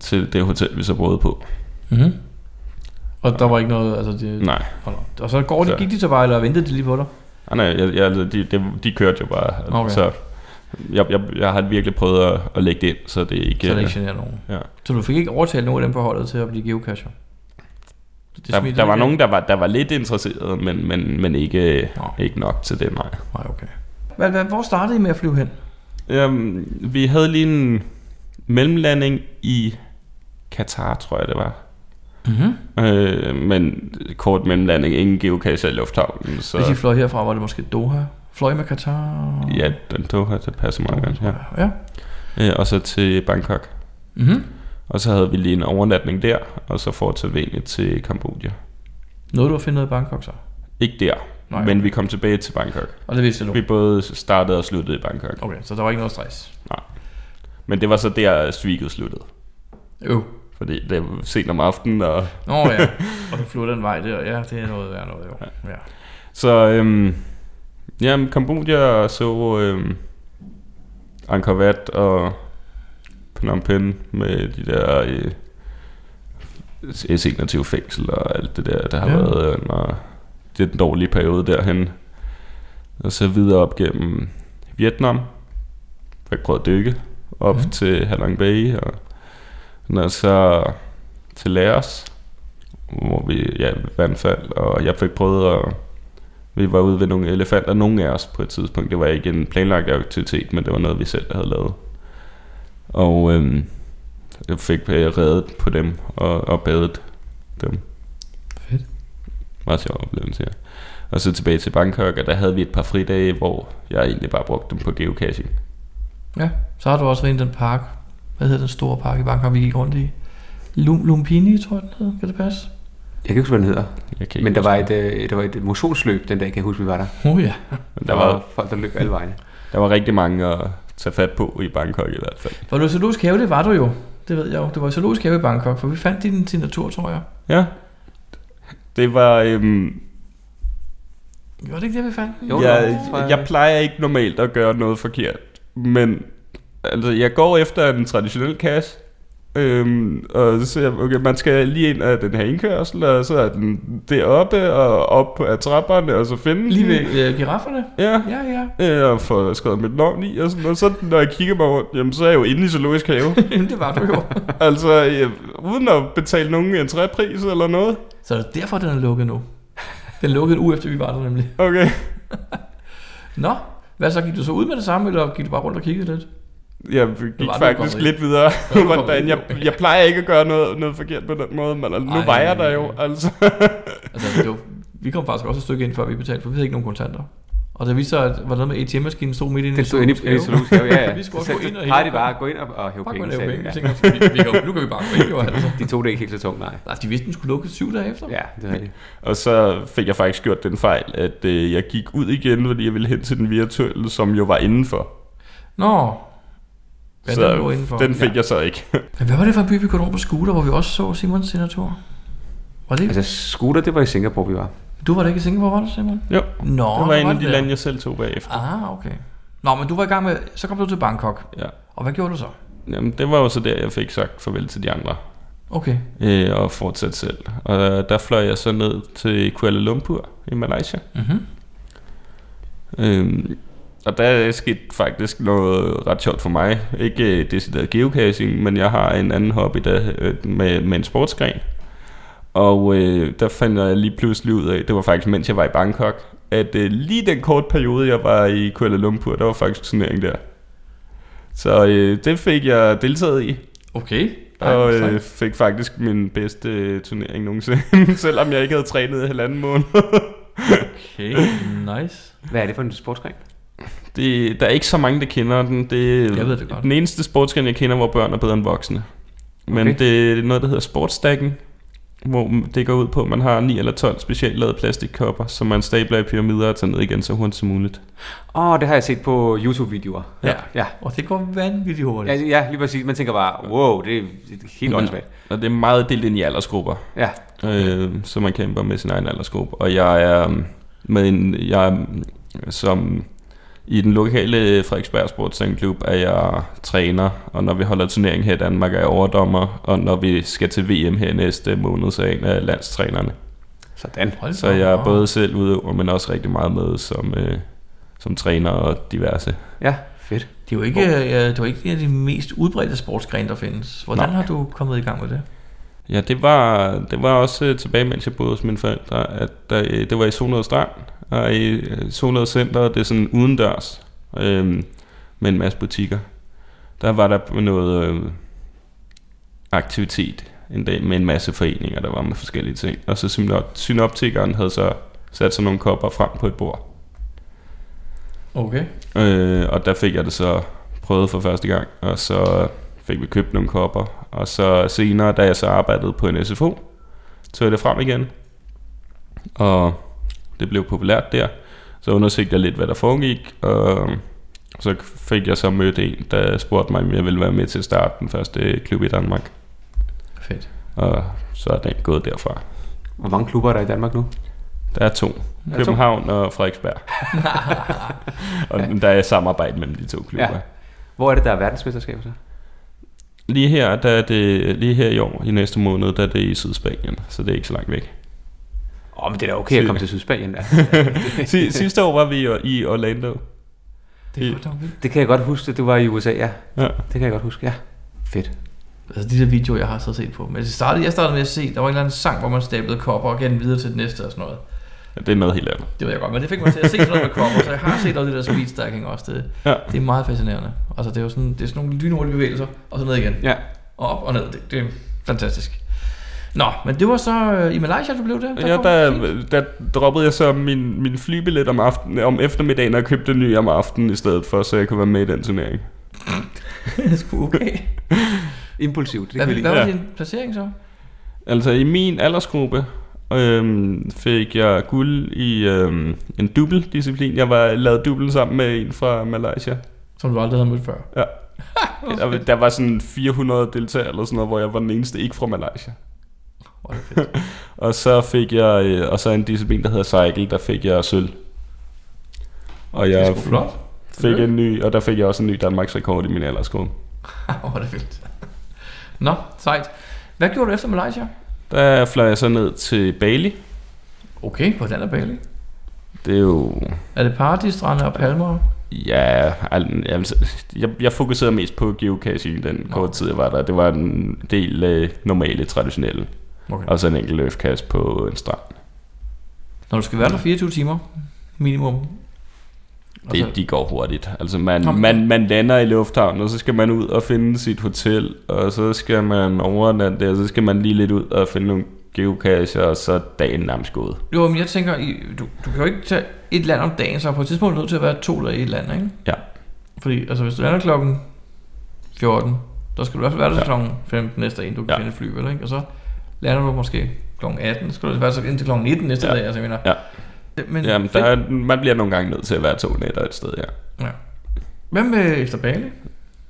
Speaker 4: til det hotel, vi så boede på.
Speaker 5: Mm-hmm. Og der var ikke noget, altså de,
Speaker 4: Nej,
Speaker 5: Hold op. Og så går de,
Speaker 4: Så-
Speaker 5: gik de så bare, eller ventede de lige på dig?
Speaker 4: Ah, nej, jeg, jeg, altså, de, de, de kørte jo bare,
Speaker 5: Okay.
Speaker 4: okay. så Jeg, jeg, jeg har virkelig prøvet at, at lægge det ind, så det ikke... øh,
Speaker 5: så det ikke generer nogen.
Speaker 4: Ja.
Speaker 5: Så du fik ikke overtalt nogen af dem på holdet til at blive geocacher? Det
Speaker 4: der,
Speaker 5: smittede
Speaker 4: der var
Speaker 5: ikke af?
Speaker 4: nogen, der var, der var lidt interesseret, men, men, men ikke,
Speaker 5: Nå.
Speaker 4: ikke nok til det, nej.
Speaker 5: Nej, okay. Hvad, hvad, hvor startede I med at flyve hen?
Speaker 4: Um, vi havde lige en mellemlanding i Katar, tror jeg det var.
Speaker 5: Mm-hmm.
Speaker 4: Øh, men kort mellemlanding, ingen geocache i lufthavnen, så...
Speaker 5: Hvis I fløj herfra, var det måske Doha? Fløj I med Katar?
Speaker 4: Ja, den tog her, det passer meget godt, ja.
Speaker 5: ja.
Speaker 4: Øh, og så til Bangkok.
Speaker 5: Mm-hmm.
Speaker 4: Og så havde vi lige en overnatning der, og så fortsatte vi egentlig til Kambodja.
Speaker 5: Noget du har fundet i Bangkok så?
Speaker 4: Ikke der,
Speaker 5: Nej.
Speaker 4: Nej. men vi kom tilbage til Bangkok.
Speaker 5: Og det vidste du?
Speaker 4: Vi både startede og sluttede i Bangkok.
Speaker 5: Okay, så der var ikke noget stress?
Speaker 4: Men det var så der, streaket sluttede.
Speaker 5: Jo.
Speaker 4: Fordi det var sent om aftenen, og...
Speaker 5: Nå ja, og du flyver den vej der, ja, det er noget værd noget, jo. Ja.
Speaker 4: Så øhm, jamen, Kambodja så øhm, Angkor Wat og Phnom Penh med de der øh, S21 fængsel og alt det der, der har
Speaker 5: Ja.
Speaker 4: ja. været under det er den dårlige periode derhen. Og så videre op gennem Vietnam. Jeg prøvede at dykke op
Speaker 5: Ja.
Speaker 4: ja. til Halong Bay og, og så til Laos, hvor vi ja, vandfald, og jeg fik prøvet at vi var ude ved nogle elefanter, nogle af os på et tidspunkt. Det var ikke en planlagt aktivitet, men det var noget, vi selv havde lavet. Og øhm, jeg fik øh, reddet på dem og, og badet dem.
Speaker 5: Fedt.
Speaker 4: Meget sjov oplevelse, ja. Og så tilbage til Bangkok, og der havde vi et par fridage, hvor jeg egentlig bare brugte dem på geocaching.
Speaker 5: Ja, så har du også været i den park. Hvad hedder den store park i Bangkok, vi gik rundt i? Lum- Lumpini, tror jeg den hed. Kan det passe?
Speaker 2: Jeg kan ikke huske, hvad den hedder.
Speaker 4: Jeg kan ikke
Speaker 2: Men der
Speaker 4: huske-
Speaker 2: var, et, øh, der var et motionsløb den dag, kan jeg huske, vi var der.
Speaker 5: Oh ja.
Speaker 4: men
Speaker 2: Der
Speaker 4: der,
Speaker 2: var
Speaker 4: var,
Speaker 2: folk, der løb alle vejene.
Speaker 4: der var rigtig mange at tage fat på i Bangkok i hvert fald.
Speaker 5: Var du i Zoologisk Have? Det var du jo. Det ved jeg jo. Det var i Zoologisk Have i Bangkok, for vi fandt din signatur, tror jeg.
Speaker 4: Ja. Det var... Øhm,
Speaker 5: Var det ikke det, vi fandt? den?
Speaker 2: Jo, det
Speaker 4: jeg,
Speaker 2: tror
Speaker 4: jeg,
Speaker 2: jeg.
Speaker 4: jeg plejer ikke normalt at gøre noget forkert, men altså, jeg går efter en traditionel kasse, øhm, og så ser jeg, okay, man skal lige ind af den her indkørsel, og så er den deroppe, og op af trapperne, og så finde
Speaker 5: Lige
Speaker 4: den.
Speaker 5: ved øh, girafferne?
Speaker 4: Ja,
Speaker 5: Ja, ja.
Speaker 4: øh, og får skrevet mit navn i, og, sådan, og så når jeg kigger mig rundt, jamen, så er jeg jo inde i zoologisk have.
Speaker 5: Jamen, det var du jo.
Speaker 4: altså, jeg, uden at betale nogen entrépris eller noget.
Speaker 5: Så er det derfor, den er lukket nu. Den lukkede en uge efter, vi var der nemlig.
Speaker 4: Okay.
Speaker 5: Nå, hvad så? Gik du så ud med det samme, eller gik du bare rundt og kiggede lidt?
Speaker 4: Jeg gik
Speaker 5: var det,
Speaker 4: faktisk
Speaker 5: Conrad.
Speaker 4: lidt videre,
Speaker 5: det,
Speaker 4: hvordan jeg,
Speaker 5: Conrad.
Speaker 4: jeg plejer ikke at gøre noget, noget forkert på den måde, men nu
Speaker 5: Ej.
Speaker 4: var jeg der jo, altså.
Speaker 5: Altså, det var, vi kom faktisk også et stykke ind, før vi betalte, for vi havde ikke nogen kontanter. Og det viste sig, at var noget med ATM-maskinen stod midt inde
Speaker 2: Den stod inde i- inde i zoologisk have, ja, ja.
Speaker 5: vi skulle også
Speaker 2: Så
Speaker 5: gå ind og
Speaker 2: plejer de bare at gå ind og, og hæve
Speaker 5: Fuck,
Speaker 2: penge.
Speaker 5: man laver
Speaker 2: sagde de.
Speaker 5: penge.
Speaker 2: Ja.
Speaker 5: Vi tænker, vi, vi, kan jo- nu kan vi bare gå ind, jo altså.
Speaker 2: De tog det ikke helt så tungt, nej.
Speaker 5: Nej, de vidste, den skulle lukke syv dage efter.
Speaker 2: Ja, det er rigtigt.
Speaker 4: Og så fik jeg faktisk gjort den fejl, at øh, jeg gik ud igen, fordi jeg ville hen til den virtuelle, som jo var indenfor.
Speaker 5: Nå. Ja,
Speaker 4: så
Speaker 5: den lå indenfor.
Speaker 4: den fik ja. jeg så ikke.
Speaker 5: Men hvad var det for en by, vi kørte rundt på scooter, hvor vi også så Simons senator? Var det?
Speaker 2: Altså, scooter, det var i Singapore, vi var.
Speaker 5: Du var da ikke i Singapore, var du, Simon?
Speaker 4: jo,
Speaker 5: Nå,
Speaker 4: det
Speaker 5: du
Speaker 4: var en af
Speaker 5: det
Speaker 4: de
Speaker 5: der.
Speaker 4: lande, jeg selv tog bagefter.
Speaker 5: Ah, okay. Nå, men du var i gang med... Så kom du til Bangkok.
Speaker 4: Ja.
Speaker 5: Og hvad gjorde du så?
Speaker 4: Jamen, det var jo så der, jeg fik sagt farvel til de andre.
Speaker 5: Okay.
Speaker 4: Øh, og fortsatte selv. Og øh, der fløj jeg så ned til Kuala Lumpur i Malaysia.
Speaker 5: Mm-hmm.
Speaker 4: Øhm, og der skete faktisk noget ret sjovt for mig. Ikke øh, decideret geocaching, men jeg har en anden hobby der, øh, med, med en sportsgren. Og øh, der fandt jeg lige pludselig ud af, det var faktisk mens jeg var i Bangkok, at øh, lige den korte periode, jeg var i Kuala Lumpur, der var faktisk turnering der. Så øh, det fik jeg deltaget i,
Speaker 5: Okay. Ej,
Speaker 4: og
Speaker 5: sejt.
Speaker 4: øh, fik faktisk min bedste øh, turnering nogensinde, selvom jeg ikke havde trænet i halvanden måned.
Speaker 5: Okay, nice.
Speaker 2: Hvad er det for en sportsgren?
Speaker 4: Det, der er ikke så mange, der kender den. Det,
Speaker 5: Jeg ved det godt.
Speaker 4: Den eneste sportsgren, jeg kender, hvor børn er bedre end voksne. Men
Speaker 2: Okay.
Speaker 4: okay. det er noget, der hedder sportsstacken, hvor det går ud på, at man har 9 eller 12 specielt lavede plastikkopper, som man stabler i pyramider og tager ned igen så hurtigt som muligt.
Speaker 2: Åh, oh, det har jeg set på YouTube-videoer.
Speaker 5: Ja.
Speaker 2: Ja.
Speaker 5: Og det går vanvittigt hurtigt.
Speaker 2: Ja, ja, lige præcis. Man tænker bare, wow, det er det er helt
Speaker 4: Ja.
Speaker 2: åndssvagt.
Speaker 4: Og det er meget delt ind i aldersgrupper,
Speaker 2: Ja.
Speaker 4: øh, så man kæmper med sin egen aldersgruppe. Og jeg er øhm, med en, jeg er, øhm, som i den lokale Frederiksberg Sportsklub er jeg træner, og når vi holder turnering her i Danmark, er jeg overdommer, og når vi skal til VM her næste måned, så er jeg en af landstrænerne.
Speaker 2: Sådan.
Speaker 5: Hold
Speaker 4: Så
Speaker 5: da
Speaker 4: jeg er
Speaker 5: op.
Speaker 4: både selv udøver, men også rigtig meget med som, øh, som træner og diverse.
Speaker 2: Ja, Fedt.
Speaker 5: Det er jo ikke, ja, det er jo ikke en af de mest udbredte sportsgrene, der findes. Hvordan
Speaker 4: Nej.
Speaker 5: har du kommet i gang med det?
Speaker 4: Ja, det var, det var også øh, tilbage, mens jeg boede hos mine forældre, at der, øh, det var i Solnød Strand, og i øh, Solnød Center, det er sådan udendørs, øh, med en masse butikker. Der var der noget øh, aktivitet en dag med en masse foreninger, der var med forskellige ting. Og så synop- synoptikeren havde så sat sådan nogle kopper frem på et bord.
Speaker 5: Okay.
Speaker 4: Øh, og der fik jeg det så prøvet for første gang, og så fik vi købt nogle kopper. Og så senere, da jeg så arbejdede på en SFO, tog jeg det frem igen. Og det blev populært der. Så undersøgte jeg lidt, hvad der foregik, og så fik jeg så mødt en, der spurgte mig, om jeg ville være med til at starte den første klub i Danmark.
Speaker 5: Fedt.
Speaker 4: Og så er den gået derfra.
Speaker 2: Hvor mange klubber er der i Danmark nu?
Speaker 4: Der er to.
Speaker 2: Der er to.
Speaker 4: København og Frederiksberg. og der er samarbejde mellem de to klubber.
Speaker 2: Ja. Hvor er det, der er verdensmesterskaber så?
Speaker 4: Lige her, der er det, lige her i år, i næste måned, der er det i Sydspanien, så det er ikke så langt væk.
Speaker 2: Åh, oh, men det er da okay at
Speaker 4: Syd-
Speaker 2: komme til Sydspanien. Altså,
Speaker 4: Si- Sidste år var vi i- i Orlando.
Speaker 5: Det er
Speaker 4: I-
Speaker 5: godt nok vildt.
Speaker 2: det kan jeg godt huske, at du var i USA, ja.
Speaker 4: Ja.
Speaker 2: Det kan jeg godt huske, ja. Fedt.
Speaker 5: Altså de der videoer, jeg har så set på. Men det startede, jeg startede med at se, der var en eller anden sang, hvor man stablede kopper og gav den videre til den næste og sådan noget.
Speaker 4: Det er noget helt andet.
Speaker 5: Det ved jeg godt, men det fik mig til at se sådan noget med kopper, så jeg har set noget af det der speed stacking også. Det,
Speaker 4: Ja.
Speaker 5: det er meget fascinerende. Altså det er jo sådan, det er sådan nogle lynhurtige bevægelser, og så ned igen.
Speaker 2: Ja.
Speaker 5: Og op og ned, det, det er fantastisk. Nå, men det var så øh, i Malaysia, du blev der?
Speaker 4: Ja,
Speaker 5: kom
Speaker 4: der,
Speaker 5: du fint.
Speaker 4: der droppede jeg så min, min flybillet om, aften, om eftermiddagen og købte en ny om aftenen i stedet for, så jeg kunne være med i den turnering.
Speaker 5: Det er sgu okay.
Speaker 2: Impulsivt, det
Speaker 5: Hvad,
Speaker 2: kan vi lide.
Speaker 5: hvad var
Speaker 4: Ja.
Speaker 5: din placering så?
Speaker 4: Altså i min aldersgruppe øhm, fik jeg guld i øhm, en dubbeldisciplin. Jeg var lavet dubbel sammen med en fra Malaysia.
Speaker 5: Som du aldrig havde mødt før.
Speaker 4: Ja. Der, der var sådan 400 deltagere eller sådan noget, hvor jeg var den eneste ikke fra Malaysia.
Speaker 5: Hvor er det fedt.
Speaker 4: Og så fik jeg, øh, og så en disciplin, der hedder cycle, der fik jeg sølv. Og
Speaker 5: Det er
Speaker 4: jeg
Speaker 5: sgu flot.
Speaker 4: fik en ny, og der fik jeg også en ny Danmarks rekord i min aldersgruppe.
Speaker 5: Hvor er det vildt. Nå, sejt. Hvad gjorde du efter Malaysia?
Speaker 4: Der fløj jeg så ned til Bali.
Speaker 5: Okay, hvordan er Bali?
Speaker 4: Det er jo...
Speaker 5: Er det paradisstrande og palmer?
Speaker 4: Ja, al- altså, jeg, jeg fokuserede mest på geocaching den
Speaker 5: Nå.
Speaker 4: korte tid, jeg var der. Det var en del øh, normale, traditionelle.
Speaker 5: Okay.
Speaker 4: Og så en enkelt løfkast på en strand.
Speaker 5: Når du skal være der 24 timer, minimum.
Speaker 4: Det,
Speaker 5: Altså-
Speaker 4: de går hurtigt. Altså man,
Speaker 5: Nå, men-
Speaker 4: man, man lander i lufthavnen, og så skal man ud og finde sit hotel, og så skal man overnatte der, og så skal man lige lidt ud og finde nogle geocacher, og så er dagen nærmest gået.
Speaker 5: Jo, men jeg tænker, I- du, du kan jo ikke tage et land om dagen, så på et tidspunkt er du nødt til at være to dage i et land, ikke?
Speaker 4: Ja.
Speaker 5: Fordi altså, hvis du lander klokken 14, så skal du i hvert fald være der til
Speaker 4: Ja.
Speaker 5: klokken 15 næste dag, du kan
Speaker 4: Ja.
Speaker 5: finde et fly, vel, ikke? Og så lander du måske klokken 18, så skal du altså være så indtil klokken 19 næste
Speaker 4: Ja.
Speaker 5: dag, altså jeg mener.
Speaker 4: Ja.
Speaker 5: Det- Men,
Speaker 4: Jamen, der er, man bliver nogle gange nødt til at være to nætter et sted, ja.
Speaker 5: ja. Hvad med efter Bali?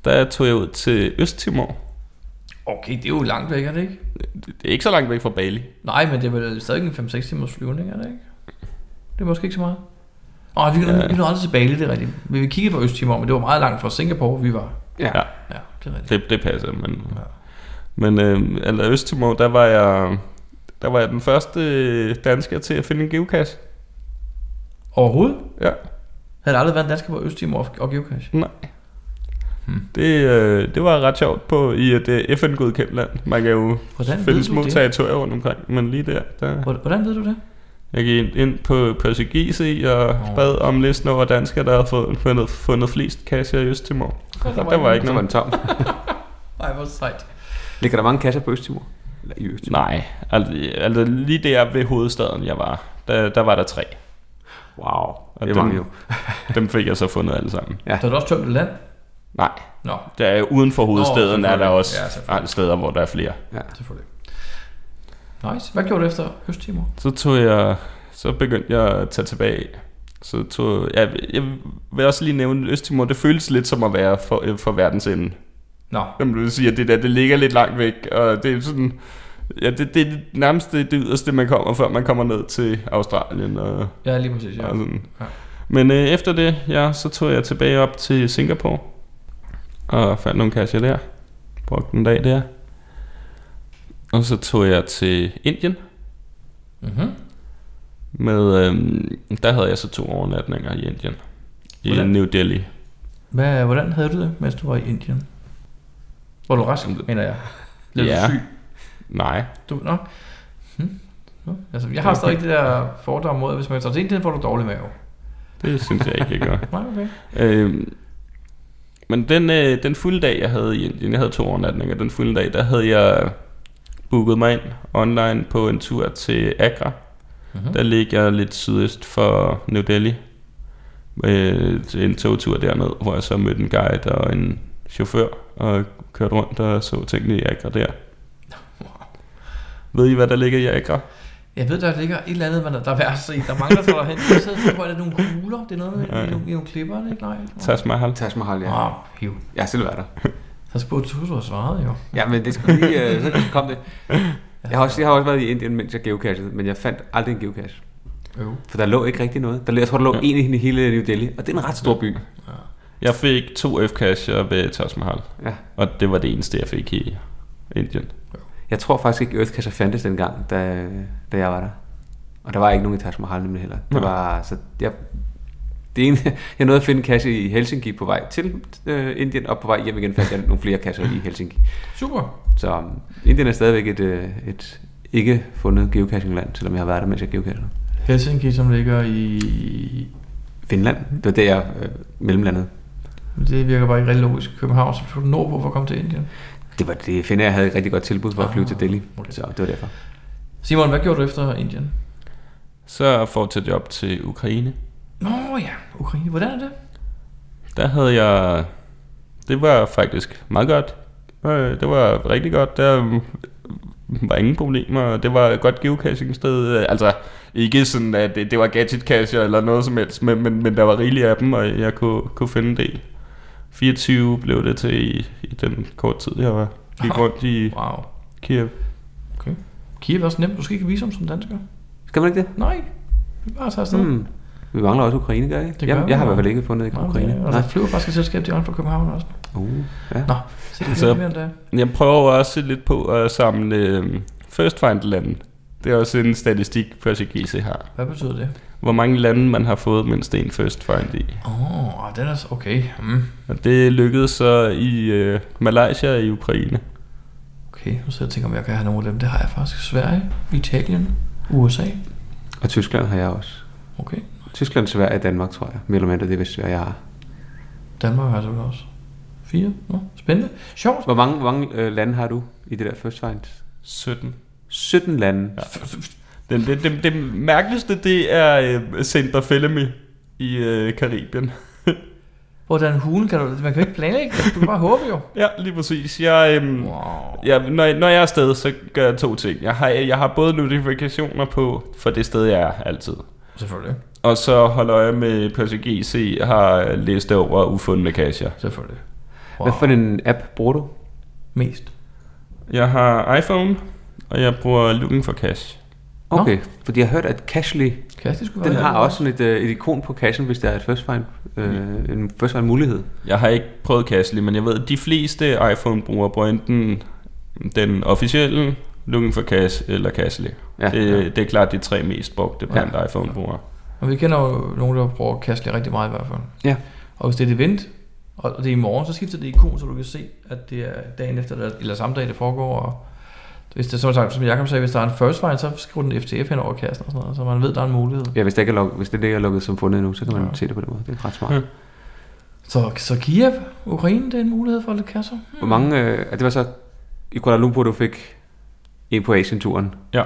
Speaker 4: Der tog jeg ud til Østtimor.
Speaker 5: Okay, det er jo langt væk, er det ikke?
Speaker 4: Det er ikke så langt væk fra Bali.
Speaker 5: Nej, men det er vel stadig en 5-6 timers flyvning, er det ikke? Det er måske ikke så meget. Åh, vi, ja.
Speaker 4: Ja.
Speaker 5: vi nåede aldrig til Bali, det er rigtigt. Men vi kiggede på Østtimor, men det var meget langt fra Singapore, vi var.
Speaker 2: Ja.
Speaker 4: Ja.
Speaker 5: Ja, det er rigtigt.
Speaker 4: Det, det passer, men...
Speaker 5: Ja.
Speaker 4: Ja. Men øh, eller Østtimor, der var jeg... Der var jeg den første øh, dansker til at finde en geocache.
Speaker 5: Overhovedet
Speaker 4: Ja.
Speaker 5: havde der aldrig været en dansker på Østtimor og Geocache.
Speaker 4: Nej. Det, øh, det var ret sjovt på i et øh, FN-godkendt land. Man kan jo
Speaker 5: Hvordan ved
Speaker 4: finde
Speaker 5: du
Speaker 4: små
Speaker 5: det?
Speaker 4: territorier rundt omkring, men lige der, der
Speaker 5: Hvor- Hvordan ved du det?
Speaker 4: jeg gik ind- ind på Percy GC og
Speaker 5: Nå.
Speaker 4: bad om listen over danskere, der havde fået- fundet, fundet flest kasser i Østtimor. Og der var ikke
Speaker 2: Så var
Speaker 4: nogen.
Speaker 2: den tom.
Speaker 5: Nej, hvor sejt.
Speaker 2: Ligger der mange kasser på Østtimor? Eller i Østtimor?
Speaker 4: Nej, altså, altså lige der ved hovedstaden, jeg var, der, der var der tre.
Speaker 2: Wow, det er
Speaker 4: den-
Speaker 2: mange jo.
Speaker 4: Dem fik jeg så fundet alle sammen.
Speaker 5: Så er du også tømt et land?
Speaker 4: Nej,
Speaker 5: Nå,
Speaker 4: der er, uden for hovedstaden er der
Speaker 5: selvfølgelig.
Speaker 4: også
Speaker 5: Ja, selvfølgelig.
Speaker 4: ja, steder, hvor der er flere.
Speaker 5: selvfølgelig. Nice. Hvad gjorde du efter Østtimor?
Speaker 4: Så tog jeg, så begyndte jeg at tage tilbage. Så tog, ja, jeg vil også lige nævne Østtimor, det føles lidt som at være for, øh, for verdens ende.
Speaker 5: Nå,
Speaker 4: Som du siger, det der, det ligger lidt langt væk, og det er sådan, ja, det, det er nærmest det, det yderste, man kommer, før man kommer ned til Australien og,
Speaker 5: ja, lige præcis. Ja.
Speaker 4: og sådan.
Speaker 5: Ja.
Speaker 4: Men øh, efter det, ja, så tog jeg tilbage op til Singapore, og fandt nogle kasser der, brugte en dag der. Og så tog jeg til Indien,
Speaker 5: Mm-hmm.
Speaker 4: øh, Med, øhm, der havde jeg så to overnatninger i Indien. I
Speaker 5: Hvordan?
Speaker 4: New Delhi.
Speaker 5: Hvad, hvordan havde du det, mens du var i Indien? Var du rask, mener jeg? Blev
Speaker 4: Ja.
Speaker 5: du syg?
Speaker 4: Nej.
Speaker 5: Du, nå. Hm. Nå. Altså, jeg har stadig det der fordomme mod, at hvis man tager til Indien, får du dårlig mave.
Speaker 4: Det synes jeg ikke, jeg gør.
Speaker 5: Nej, okay.
Speaker 4: Øhm, men den, øh, den fulde dag, jeg havde i Indien, jeg havde to overnatninger, den fulde dag, der havde jeg booket mig ind online på en tur til Agra.
Speaker 5: Mhm.
Speaker 4: Der ligger jeg lidt sydøst for New Delhi. Øh, til en togtur derned, hvor jeg så mødte en guide og en chauffør, og kørte rundt og så tingene i Agra der. Ved I, hvad der ligger i Agra?
Speaker 5: Jeg ved, der ligger et eller andet, man, der er værd at se. Der mangler sig derhen. Jeg sidder og tænker på, er det nogle kugler? Det er noget med
Speaker 4: Ja.
Speaker 5: ja. nogle, nogle klipper, er det ikke? Nej.
Speaker 4: Taj Mahal.
Speaker 2: Taj Mahal, ja.
Speaker 5: Åh, hiv.
Speaker 2: Jeg har selv været der.
Speaker 5: Så spurgte du, du har svaret jo.
Speaker 2: Ja, men det skulle lige... Øh, så kom det. Jeg har, også, jeg har også været i Indien, mens jeg geocachede, men jeg fandt aldrig en geocache.
Speaker 5: Jo.
Speaker 2: For der lå ikke rigtig noget. Der, lå- jeg tror, der lå
Speaker 4: Ja.
Speaker 2: en i hele New Delhi, og det er en ret stor by.
Speaker 4: Jeg fik to F-kasser ved Taj Mahal,
Speaker 2: Ja.
Speaker 4: og det var det eneste, jeg fik i Indien.
Speaker 2: Jeg tror faktisk ikke, Earthcatcher fandtes dengang, da, da jeg var der. Og der var ikke nogen i Taj Mahal nemlig heller. Det
Speaker 4: Nej.
Speaker 2: var, så jeg, det ene, jeg nåede at finde en kasse i Helsinki på vej til øh, Indien, og på vej hjem igen fandt jeg nogle flere kasser i Helsinki.
Speaker 5: Super.
Speaker 2: Så um, Indien er stadigvæk et, øh, et ikke fundet geocachingland, selvom jeg har været der, mens jeg geocachede.
Speaker 5: Helsinki, som ligger i...
Speaker 2: Finland, det var der jeg øh, mellemlandet.
Speaker 5: Det virker bare ikke rigtig logisk. København, så skulle du nordpå for at komme til Indien.
Speaker 2: Det var det, finder jeg havde et rigtig godt tilbud for at flyve
Speaker 5: Ah,
Speaker 2: til Delhi,
Speaker 5: okay.
Speaker 2: så det var derfor.
Speaker 5: Simon, hvad gjorde du efter Indien?
Speaker 4: Så fortsatte jeg op til Ukraine.
Speaker 5: Nå ja, Ukraine. Hvordan er det?
Speaker 4: Der havde jeg... Det var faktisk meget godt. Øh, Det var rigtig godt. Der mm, var ingen problemer. Det var et godt geocaching sted. Øh, Altså, ikke sådan, at det, det var gadgetkasser eller noget som helst, men, men, men der var rigeligt af dem, og jeg kunne, kunne finde en del. 24 blev det til i, i den korte tid, jeg var gik rundt i
Speaker 5: Wow.
Speaker 4: Kiev.
Speaker 5: Okay. Kiev er også nemt. Du skal ikke vise om som dansker.
Speaker 2: Skal man ikke det?
Speaker 5: Nej. Vi bare tager afsted.
Speaker 2: Mm. Vi mangler også Ukraine, gør jeg ikke?
Speaker 5: Det gør
Speaker 2: jeg,
Speaker 5: vi,
Speaker 2: jeg har i
Speaker 5: ja.
Speaker 2: hvert fald ikke fundet
Speaker 5: Nå, Altså.
Speaker 2: Ukraine.
Speaker 5: Det, og der flyver faktisk et selskab direkte fra København også.
Speaker 2: Uh, ja.
Speaker 5: Nå, se det
Speaker 4: Så-
Speaker 5: er mere end det.
Speaker 4: Jeg prøver også lidt på at samle øh, first find lande. Det er også en statistik, Persikise har.
Speaker 5: Hvad betyder det?
Speaker 4: Hvor mange lande man har fået mindst en first find i.
Speaker 5: Åh, oh, den er så okay. Mm.
Speaker 4: Og det lykkedes så i øh, Malaysia og i Ukraine.
Speaker 5: Okay, nu sidder jeg og tænker, om jeg kan have nogle af dem. Det har jeg faktisk. Sverige, Italien, USA.
Speaker 2: Og Tyskland har jeg også.
Speaker 5: Okay.
Speaker 2: Tyskland, Sverige og Danmark, tror jeg. Mere eller mindre, det er vist, Sverige, jeg har.
Speaker 5: Danmark har jeg selvfølgelig også. Fire. Nå, spændende. Sjovt.
Speaker 2: Hvor mange, hvor mange øh, lande har du i det der first find?
Speaker 4: 17.
Speaker 2: 17 lande. Ja.
Speaker 4: Den, det, det, det mærkeligste, det er øh, Center Fellemi i øh, Karibien.
Speaker 5: Hvordan hulen kan du... Man kan jo ikke planlægge det. Du kan bare håbe jo.
Speaker 4: ja, lige præcis. Jeg, øh,
Speaker 5: Wow.
Speaker 4: Ja, når, jeg- når jeg er afsted, så gør jeg to ting. Jeg har, jeg har både notifikationer på for det sted, jeg er altid.
Speaker 5: Selvfølgelig.
Speaker 4: Og så holder jeg med Percy GC har liste over ufundne kasser.
Speaker 5: Selvfølgelig. Wow.
Speaker 2: Hvad for en app bruger du?
Speaker 5: Mest.
Speaker 4: Jeg har iPhone, og jeg bruger Looking for Cash.
Speaker 5: Nå.
Speaker 2: Okay, fordi jeg har hørt, at Cashly,
Speaker 5: Kan det skulle
Speaker 2: den
Speaker 5: være
Speaker 2: har
Speaker 5: det?
Speaker 2: også sådan et, øh, et ikon på cashen, hvis der er et first find, øh, en first find mulighed.
Speaker 4: Jeg har ikke prøvet Cashly, men jeg ved, at de fleste iPhone-brugere bruger enten den officielle Looking for Cash eller Cashly.
Speaker 2: Ja,
Speaker 4: Ja, det,
Speaker 5: Øh.
Speaker 2: ja.
Speaker 4: det er klart de tre mest brugte blandt
Speaker 2: Ja.
Speaker 4: iPhone-brugere.
Speaker 5: Og vi kender jo nogen, der bruger Kastler rigtig meget i hvert fald.
Speaker 2: Ja.
Speaker 5: Og hvis det er et event, og det er i morgen, så skifter det ikon, så du kan se, at det er dagen efter, eller- eller samme dag, det foregår. Og hvis det, som, sagt, som Jacob sagde, hvis der er en first find, så skriver den FTF hen over kassen og sådan noget, så man ved, der er en mulighed.
Speaker 2: Ja, hvis, det ikke er lukket, hvis det ikke er lukket som fundet endnu, så kan man
Speaker 5: Ja.
Speaker 2: se det på den måde. Det er ret smart.
Speaker 4: Ja.
Speaker 5: Så, så Kiev, Ukraine, det er en mulighed for lidt kasser.
Speaker 2: Hvor
Speaker 4: Mm.
Speaker 2: mange, øh, og det var så i Kuala Lumpur, du fik en på Asien-turen.
Speaker 4: Ja.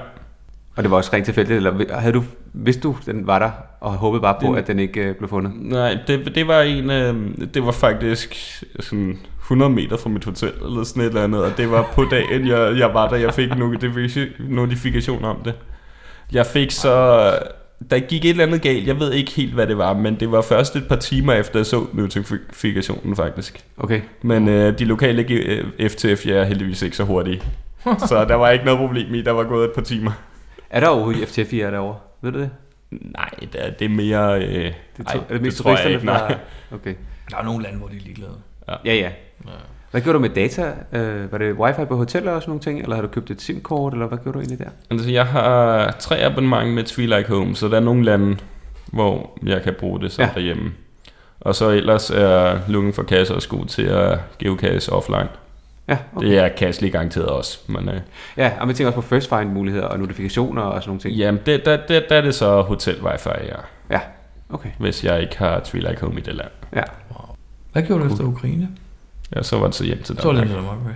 Speaker 2: Og det var også rent tilfældigt, eller havde du, vidste du, den var der, og håbede bare på,
Speaker 4: Den- Mm.
Speaker 2: at den ikke øh, blev fundet?
Speaker 4: Nej, det, det var en øh, det var faktisk sådan 100 meter fra mit hotel eller sådan et eller andet, og det var på dagen jeg, jeg var der, jeg fik notifikation, notifikation om det. Jeg fik så der gik et eller andet galt. Jeg ved ikke helt hvad det var, men det var først et par timer efter jeg så notifikationen faktisk.
Speaker 2: Okay.
Speaker 4: Men øh, de lokale G- øh, FTF jeg er heldigvis ikke så hurtige. Så der var ikke noget problem i, der var gået et par timer.
Speaker 2: Er der overhovedet FTF i jer derovre? Ved du det?
Speaker 4: Nej, det er, det er mere... Øh, det,
Speaker 2: Det,
Speaker 4: ej,
Speaker 2: er det mest
Speaker 4: tror jeg
Speaker 2: turisterne
Speaker 4: ikke,
Speaker 2: fra-
Speaker 4: nej.
Speaker 2: Okay.
Speaker 5: Der er nogle lande, hvor de er ligeglade.
Speaker 2: Ja, ja. Hvad gjorde du med data? Øh, var det wifi på hoteller og sådan nogle ting? Eller har du købt et SIM-kort, eller hvad gjorde du egentlig der?
Speaker 4: Altså, jeg har tre abonnementer med Tree Like Home, så der er nogle lande, hvor jeg kan bruge det som
Speaker 2: Ja.
Speaker 4: ja. derhjemme. Og så ellers er Lungen for Kasse også god til at geocache offline.
Speaker 2: Ja, okay.
Speaker 4: Det er Kasse lige garanteret også. Men, øh,
Speaker 2: ja, og man tænker også på first find muligheder og notifikationer og sådan nogle ting.
Speaker 4: jamen, det, der, der, der, er det så hotel wifi, ja.
Speaker 2: Ja, okay.
Speaker 4: Hvis jeg ikke har Three Like Home i det land.
Speaker 2: Ja.
Speaker 5: Hvad gjorde du efter Ukraine?
Speaker 4: Ja, så var det så hjem til
Speaker 5: Så var det
Speaker 4: Danmark.
Speaker 5: lidt Danmark. okay.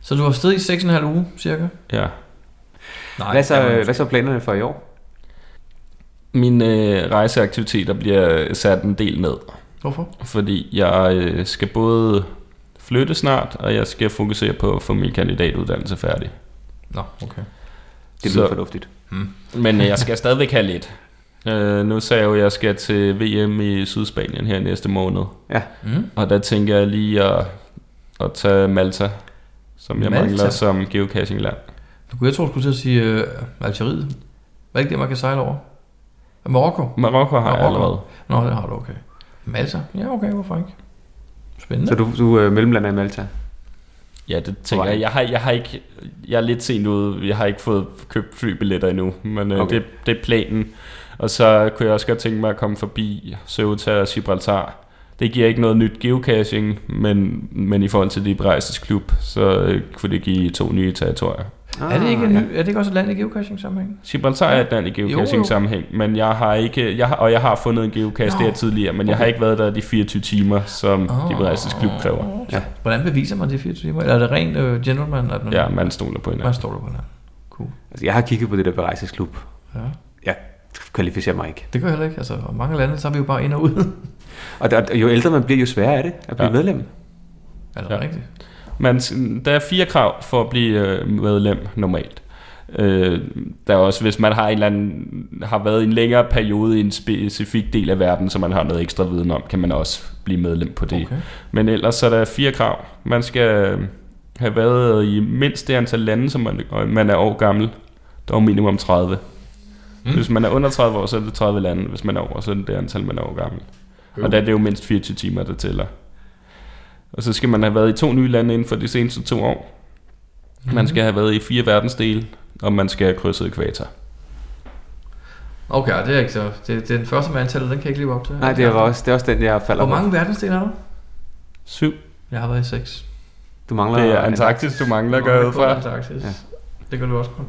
Speaker 5: Så du var afsted i 6,5 uge, cirka? øh,
Speaker 4: Ja.
Speaker 5: Nej,
Speaker 2: Hvad så, øh, hvad så planerne for i år?
Speaker 4: Mine øh, rejseaktiviteter bliver sat en del ned.
Speaker 5: Hvorfor?
Speaker 4: fordi jeg øh, skal både flytte snart, og jeg skal fokusere på at få min kandidatuddannelse færdig.
Speaker 5: Nå, okay.
Speaker 2: Det
Speaker 4: Så-
Speaker 2: lyder fornuftigt.
Speaker 4: Men øh, jeg skal stadigvæk have lidt. Øh, nu sagde jeg jo, at jeg skal til VM i Sydspanien her næste måned,
Speaker 2: Ja,
Speaker 5: Mm.
Speaker 4: og der tænker jeg lige at, at tage Malta, som jeg
Speaker 5: Malta?
Speaker 4: mangler som geocachingland.
Speaker 5: Du kunne jeg tro, du skulle til at sige øh, Algeriet. Hvad er ikke det, man kan sejle over? Marokko?
Speaker 4: Marokko har jeg
Speaker 5: Marokko?
Speaker 4: allerede.
Speaker 5: Nå, det har du, okay. Malta? Ja, okay, hvorfor ikke? Spændende.
Speaker 2: så du, du øh, mellemlander i Malta.
Speaker 4: Ja, det tænker jeg. Jeg har, jeg har ikke, jeg er lidt sent ude. Jeg har ikke fået købt flybilletter endnu, men øh,
Speaker 2: Okay.
Speaker 4: det, det er planen. Og så kunne jeg også godt tænke mig at komme forbi Ceuta og Gibraltar. Det giver ikke noget nyt geocaching, men, men i forhold til Libraistes klub, så øh, kunne det give to nye territorier.
Speaker 5: Er det
Speaker 2: Ah,
Speaker 5: ikke, en ny, er det ikke også et land i geocaching sammenhæng?
Speaker 4: Gibraltar er et land i
Speaker 5: Jo, jo.
Speaker 4: geocaching sammenhæng, men jeg har ikke, jeg har, og jeg har fundet en geocache
Speaker 5: Nå. Ah.
Speaker 4: der tidligere, men jeg har ikke været der de 24 timer, som
Speaker 5: Åh.
Speaker 4: oh. Libraistes klub kræver.
Speaker 2: Ja.
Speaker 5: Hvordan beviser man det i 24 timer? Eller er det ren øh, gentleman? At man,
Speaker 4: Ja, man stoler på hinanden.
Speaker 5: Man står der på den her. Cool.
Speaker 2: Altså, jeg har kigget på det der berejsesklub.
Speaker 5: Ja.
Speaker 2: Jeg kvalificerer mig ikke.
Speaker 5: Det gør jeg heller ikke. Altså, og mange lande, så er vi jo bare ind og ud.
Speaker 2: Og, der, og jo ældre man bliver, jo sværere er det at blive ja.
Speaker 4: Ja.
Speaker 2: medlem.
Speaker 5: er det
Speaker 4: Ja.
Speaker 5: ja. rigtigt?
Speaker 4: Man, der er fire krav for at blive øh, medlem normalt. Øh, der er også, hvis man har, en eller anden, har været i en længere periode i en specifik del af verden, som man har noget ekstra viden om, kan man også blive medlem på det.
Speaker 5: Okay.
Speaker 4: Men ellers så er der fire krav. Man skal øh, have været øh, i mindst det antal lande, som man, og man er år gammel. Der er minimum 30. Mm. Hvis man er under 30 år, så er det 30 lande. Hvis man er over, så er det det antal, man er år gammel. Og der er det jo mindst 24 timer, der tæller. Og så skal man have været i to nye lande inden for de seneste to år. Man skal have været i fire verdensdele, og man skal have krydset ekvator.
Speaker 5: Okay, og det er ikke så. Det, det er den første med antallet, den kan jeg ikke leve op til.
Speaker 2: Nej, det er, også, det er også den, jeg falder
Speaker 5: Hvor mange verdensdele er der?
Speaker 4: Syv.
Speaker 5: Jeg har været i seks.
Speaker 2: på. Du mangler...
Speaker 4: Det er Antarktis, du mangler at gøre ud fra.
Speaker 5: Antarktis.
Speaker 2: Ja.
Speaker 5: Ja. Det gør du også kun.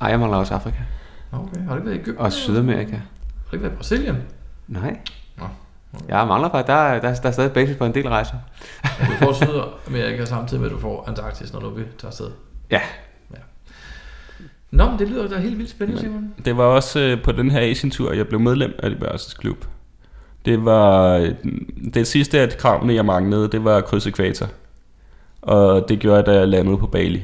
Speaker 2: Ej, jeg mangler også Afrika.
Speaker 5: Okay, har du ikke været i Egypten?
Speaker 2: Og Sydamerika.
Speaker 5: Har du ikke været i Brasilien?
Speaker 2: Nej.
Speaker 5: Nå.
Speaker 2: Jeg mangler faktisk. Der, er- der, er- der er stadig basis for en del rejser.
Speaker 5: Du får Sydamerika samtidig med, at du får Antarktis, når du vil tage afsted.
Speaker 2: Ja.
Speaker 5: Nå, men det lyder da helt vildt spændende,
Speaker 4: Men-
Speaker 5: Simon.
Speaker 4: Det var også øh, på den her Asian-tur, jeg blev medlem af det Børsens Klub. Det var øh, det sidste af kravene, jeg manglede, det var kryds ekvator. Og det gjorde jeg, da jeg landede på Bali.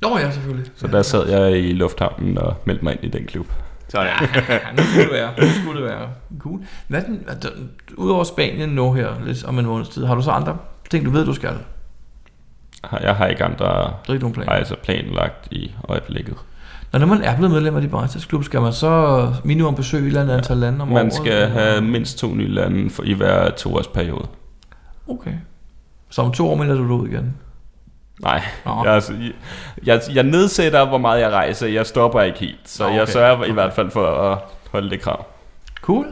Speaker 5: Nå ja, selvfølgelig.
Speaker 4: Så
Speaker 5: ja,
Speaker 4: der sad jeg i lufthavnen og meldte mig ind i den klub.
Speaker 2: Sådan.
Speaker 5: Ja, nu skulle det være. Nu skulle det være. Cool. Hvad er den, er der- udover Spanien nu her, lidt om en måneds tid, har du så andre ting, du ved, du skal? Der
Speaker 4: Har- Jeg har ikke andre
Speaker 5: er ikke nogen plan.
Speaker 4: rejser planlagt i øjeblikket.
Speaker 5: Når, når man er blevet medlem af Libertas Klub, skal man så minimum besøge et eller andet antal lande om
Speaker 4: Man
Speaker 5: året?
Speaker 4: skal have mindst to nye lande for, i hver toårsperiode.
Speaker 5: Okay. Så om to år melder du dig ud igen?
Speaker 4: Nej,
Speaker 5: Nå.
Speaker 4: jeg, jeg, jeg nedsætter, hvor meget jeg rejser. Jeg stopper ikke helt, så
Speaker 5: Nå,
Speaker 4: okay. jeg
Speaker 5: okay.
Speaker 4: sørger i hvert fald for at holde det krav.
Speaker 5: Cool.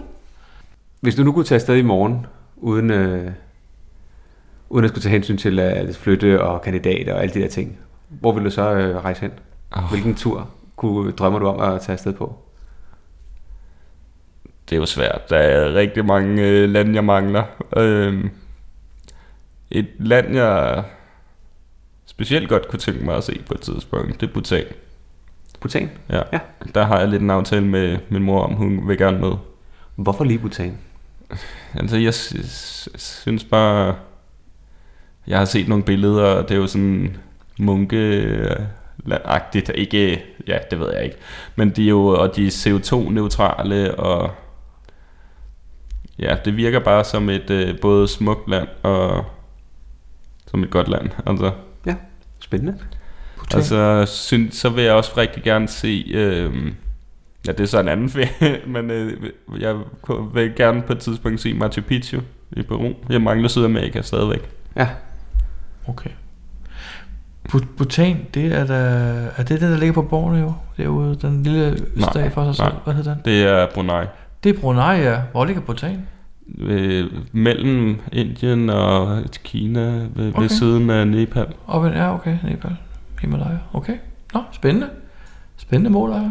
Speaker 2: Hvis du nu kunne tage afsted i morgen, uden, øh, uden at skulle tage hensyn til at flytte og kandidater og alle de der ting, hvor ville du så øh, rejse hen? Oh. Hvilken tur kunne, drømmer du om at tage afsted på?
Speaker 4: Det er jo svært. Der er rigtig mange øh, lande, jeg mangler. Øhm, et land, jeg specielt godt kunne tænke mig at se på et tidspunkt, det er Bhutan.
Speaker 2: Bhutan?
Speaker 4: Ja.
Speaker 2: Ja.
Speaker 4: Der har jeg lidt en aftale med min mor om, hun vil gerne med.
Speaker 2: Hvorfor lige Bhutan?
Speaker 4: Altså, jeg sy- sy- synes bare... Jeg har set nogle billeder, og det er jo sådan munke øh, agtigt Ikke... Ja, det ved jeg ikke. Men de er jo... Og de er CO2-neutrale, og... Ja, det virker bare som et øh, både smukt land og som et godt land. Altså,
Speaker 2: Ja, spændende.
Speaker 5: Bhutan.
Speaker 4: altså synes, så vil jeg også rigtig gerne se... Øh, ja, det er så en anden ferie, men øh, jeg kunne- vil gerne på et tidspunkt se Machu Picchu i Peru. Jeg mangler Sydamerika stadigvæk.
Speaker 2: Ja,
Speaker 5: Okay. Bu- Bhutan, det er da... Er det den, der ligger på Borneo derude? Den lille øststat for sig
Speaker 4: nej.
Speaker 5: selv? Hvad hedder den?
Speaker 4: Det er Brunei.
Speaker 5: Det er Brunei, ja. Hvor ligger Bhutan?
Speaker 4: ved, Øh, mellem Indien og Kina ved, okay.
Speaker 5: Okay.
Speaker 4: ved siden af Nepal.
Speaker 5: Op en, ja, okay, Nepal, Himalaya, okay. Nå, spændende. Spændende mål, er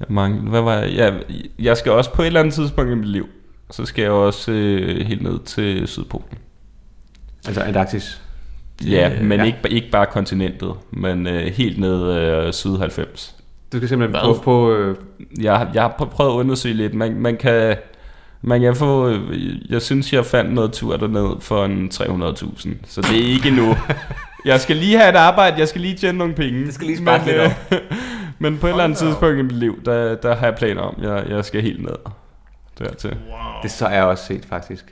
Speaker 4: Jeg mangler, hvad var jeg? jeg? Jeg skal også på et eller andet tidspunkt i mit liv, så skal jeg også øh, helt ned til Sydpolen.
Speaker 2: Altså Antarktis.
Speaker 4: Ja,
Speaker 5: Øh,
Speaker 4: men
Speaker 2: ja.
Speaker 4: ja. Ikke, ikke bare kontinentet, men øh, helt ned øh, syd 90.
Speaker 2: Du skal simpelthen
Speaker 5: Hvad?
Speaker 2: på, på øh,
Speaker 4: Jeg, har- jeg har pr- prøvet at undersøge lidt. Man, man kan... Man kan få, øh, jeg synes, jeg fandt noget tur derned for en 300.000, så det er ikke nu. Jeg skal lige have et arbejde, jeg skal lige tjene nogle penge.
Speaker 2: Det skal lige sparke lidt
Speaker 4: op. men på et eller andet tidspunkt i mit liv, der, der har jeg planer om, jeg, jeg skal helt ned dertil.
Speaker 2: Det så jeg også set, faktisk.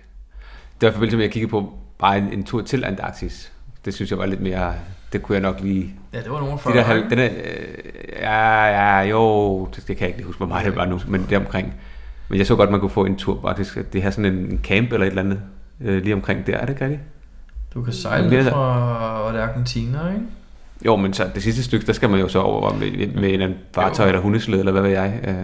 Speaker 2: Det var i forbindelse med, at jeg kiggede på bare en, en tur til Antarktis. Det synes jeg var lidt mere... Det kunne jeg nok lige...
Speaker 5: Ja, det var nogen
Speaker 2: De der, halv- den er, øh, ja, ja, jo, det, det kan jeg ikke lige huske, hvor meget det var nu, men det omkring. Men jeg så godt, man kunne få en tur faktisk. at Det her sådan en camp eller et eller andet, øh, lige omkring der, er det ikke rigtigt?
Speaker 5: Du kan sejle
Speaker 2: Det er
Speaker 5: ned
Speaker 2: der.
Speaker 5: fra var det Argentina, ikke?
Speaker 2: Jo, men så det sidste stykke, der skal man jo så over med, med en eller anden fartøj eller hundeslæde, eller hvad ved jeg, øh,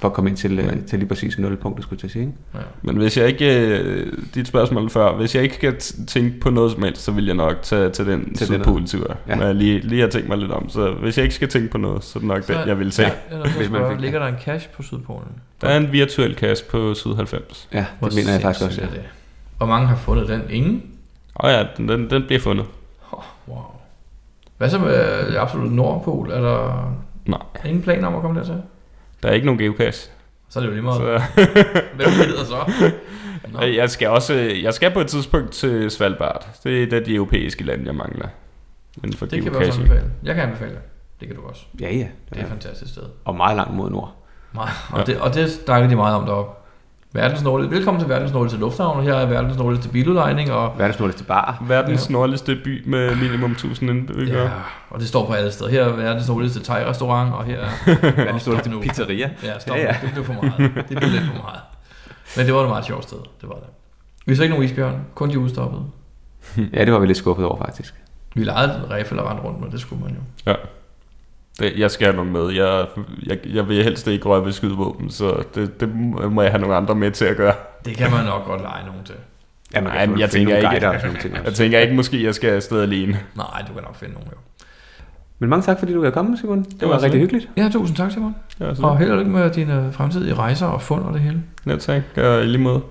Speaker 2: for at komme ind til, øh, til lige præcis nulpunktet, skulle jeg til at sige. Ikke?
Speaker 4: Men hvis jeg ikke, øh, dit spørgsmål før, hvis jeg ikke skal t- tænke på noget som helst, så vil jeg nok tage til den
Speaker 2: Til
Speaker 4: til
Speaker 2: den
Speaker 4: Sydpol-tur.
Speaker 2: Ja.
Speaker 4: Ja. Når jeg lige, lige har tænkt mig lidt om, så hvis jeg ikke skal tænke på noget, så er det nok
Speaker 5: Så-
Speaker 4: den, jeg vil tage. Ja.
Speaker 5: Eller så
Speaker 2: Hvis man
Speaker 5: spørger,
Speaker 2: fik-
Speaker 5: ligger der en cash på Sydpolen?
Speaker 4: Der er en virtuel kasse på Syd 90.
Speaker 2: Ja, det mener jeg faktisk også.
Speaker 5: sindssygt
Speaker 2: Ja.
Speaker 5: er det. Hvor mange har fundet den? Ingen?
Speaker 4: Og ja, den, den, den bliver fundet.
Speaker 5: Oh, wow. Hvad så med øh, absolut Nordpol? Er der
Speaker 4: Nej,
Speaker 5: ingen planer om at komme dertil?
Speaker 4: der er ikke nogen geocache.
Speaker 5: Så er det jo lige meget. Så...
Speaker 4: Så,
Speaker 5: Hvem gider så? Nå.
Speaker 4: jeg, skal også, jeg skal på et tidspunkt til Svalbard. Det er et af de europæiske lande, jeg mangler. Inden for
Speaker 5: Det kan vi
Speaker 4: geocaching.
Speaker 5: også anbefale. Jeg kan anbefale det. Det kan du også.
Speaker 2: Ja, ja,
Speaker 5: Det er
Speaker 2: ja.
Speaker 5: et fantastisk sted.
Speaker 2: Og meget langt mod nord.
Speaker 5: Meget.
Speaker 4: Ja.
Speaker 5: Og, det, og det snakker de meget om deroppe. Verdensnåle. Velkommen til Verdensnåle til Lufthavn. Her er Verdensnåle til biludlejning. Og,
Speaker 2: Hvad er det sådan noget, til bar?
Speaker 4: Verdens nordligste by med minimum 1000 indbyggere.
Speaker 5: ja, og det står på alle steder. Her er Verdensnåle til thai-restaurant. Og her er...
Speaker 2: Hvad er det sådan
Speaker 5: Stop
Speaker 2: noget, til
Speaker 5: nu.
Speaker 2: pizzeria?
Speaker 5: Ja, stop.
Speaker 2: Ja,
Speaker 5: Ja,
Speaker 2: ja.
Speaker 5: ja. Det blev for meget. Det blev lidt for meget. Men det var et meget sjovt sted. Det var det. Vi så ikke nogen isbjørn. Kun de udstoppede.
Speaker 2: Ja, det var vi lidt skuffet over, faktisk.
Speaker 5: Vi legede en ræf eller rendte rundt, men det skulle man jo.
Speaker 4: Ja. Det, jeg skal have nogen med. Jeg, jeg, jeg vil helst ikke røre ved skydevåben, så det, det må jeg have nogle andre med til at gøre.
Speaker 5: Det kan man nok godt lege nogen til.
Speaker 2: Ja,
Speaker 4: Nej, men jeg tænker ikke-
Speaker 2: Og sådan nogle ting
Speaker 4: Jeg
Speaker 2: også.
Speaker 4: tænker ikke, måske jeg skal afsted alene.
Speaker 5: Nej, du kan nok finde nogen jo.
Speaker 2: Men mange tak, fordi du er kommet, Simon. Det,
Speaker 4: var
Speaker 2: var,
Speaker 4: så
Speaker 2: rigtig
Speaker 4: lidt.
Speaker 2: hyggeligt.
Speaker 5: Ja, tusind tak, Simon.
Speaker 4: Ja,
Speaker 5: Og
Speaker 4: så,
Speaker 5: held og lykke med dine fremtidige rejser og fund og det hele.
Speaker 4: ja, tak. Og i lige måde.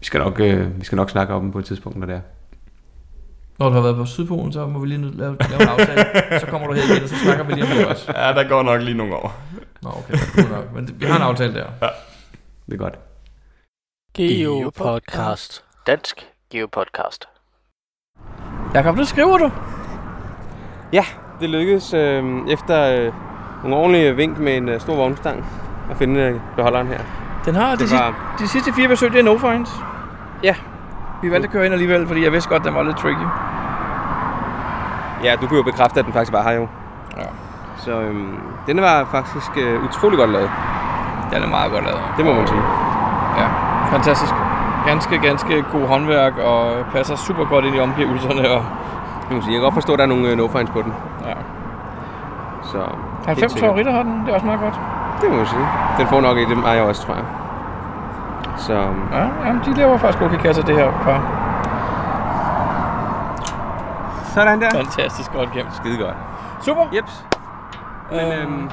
Speaker 2: Vi skal, nok, øh, vi skal nok snakke om dem på et tidspunkt, når det er.
Speaker 5: Når du har været på Sydpolen, så må vi lige nu lave, lave en aftale. Så kommer du her igen, og så snakker vi lige om det også.
Speaker 4: Ja, der går nok lige nogle år.
Speaker 5: Nå, okay. cool nok. Men det- vi har en aftale der.
Speaker 2: Det er godt.
Speaker 3: Geo Podcast. Dansk Geo Podcast.
Speaker 1: Jakob, det skriver du.
Speaker 2: Ja, det lykkedes øh, efter øh, nogle ordentlige vink med en øh, stor vognstang at finde øh, beholderen her.
Speaker 1: Den har de,
Speaker 2: Det
Speaker 1: sidste,
Speaker 2: var,
Speaker 1: de sidste fire besøg, det er no finds.
Speaker 2: Ja.
Speaker 1: Vi valgte at køre ind alligevel, fordi jeg vidste godt, den var lidt tricky.
Speaker 2: ja, du kunne jo bekræfte, at den faktisk var her jo.
Speaker 1: Ja.
Speaker 2: Så øh, den var faktisk øh, utrolig godt lavet.
Speaker 1: Den er meget godt lavet.
Speaker 2: Det må man sige.
Speaker 1: Ja, fantastisk. Ganske, ganske god håndværk, og passer super godt ind i omgivelserne. Og,
Speaker 2: Det må man sige. Jeg kan godt forstå, at der er nogle øh, no-finds på den.
Speaker 1: ja.
Speaker 2: Så,
Speaker 1: 90
Speaker 2: sikkert.
Speaker 1: favoritter har den, det er også meget godt.
Speaker 2: Det må man sige. Den får nok i dem ej også, tror jeg. Så øhm.
Speaker 1: Ja, jamen, de laver faktisk okay kasser, det her par.
Speaker 2: sådan der.
Speaker 1: Fantastisk godt gemt.
Speaker 2: Skide godt.
Speaker 1: Super.
Speaker 2: Jeps. Men øhm,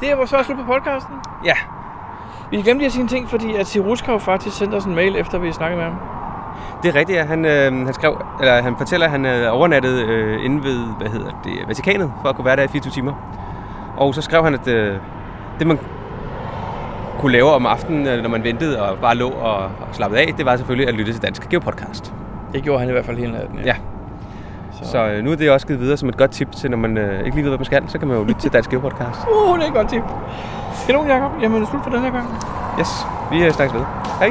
Speaker 1: Det er vores så slut på podcasten.
Speaker 2: ja,
Speaker 1: Vi glemte lige at sige en ting, fordi at Siruskov faktisk sendte os en mail, efter vi snakkede med ham.
Speaker 2: det er rigtigt. Ja. Han, øh, han, skrev, eller han fortæller, at han havde overnattet øh, inde ved hvad hedder det, Vatikanet, for at kunne være der i 24 timer. Og så skrev han, at øh, det man kunne lave om aftenen, øh, når man ventede og bare lå og, og slappede af, det var selvfølgelig at lytte til Dansk Geo Podcast.
Speaker 1: Det gjorde han i hvert fald hele natten.
Speaker 2: Ja.
Speaker 1: Så,
Speaker 2: Så øh, nu er det også givet videre som et godt tip til, når man øh, ikke lige ved, hvad man skal, så kan man jo lytte til Dansk Geo Podcast.
Speaker 1: Uh, det er et godt tip. Kanon, Jacob. Jamen, slut for den her gang.
Speaker 2: Yes, vi øh, snakkes ved. Hej.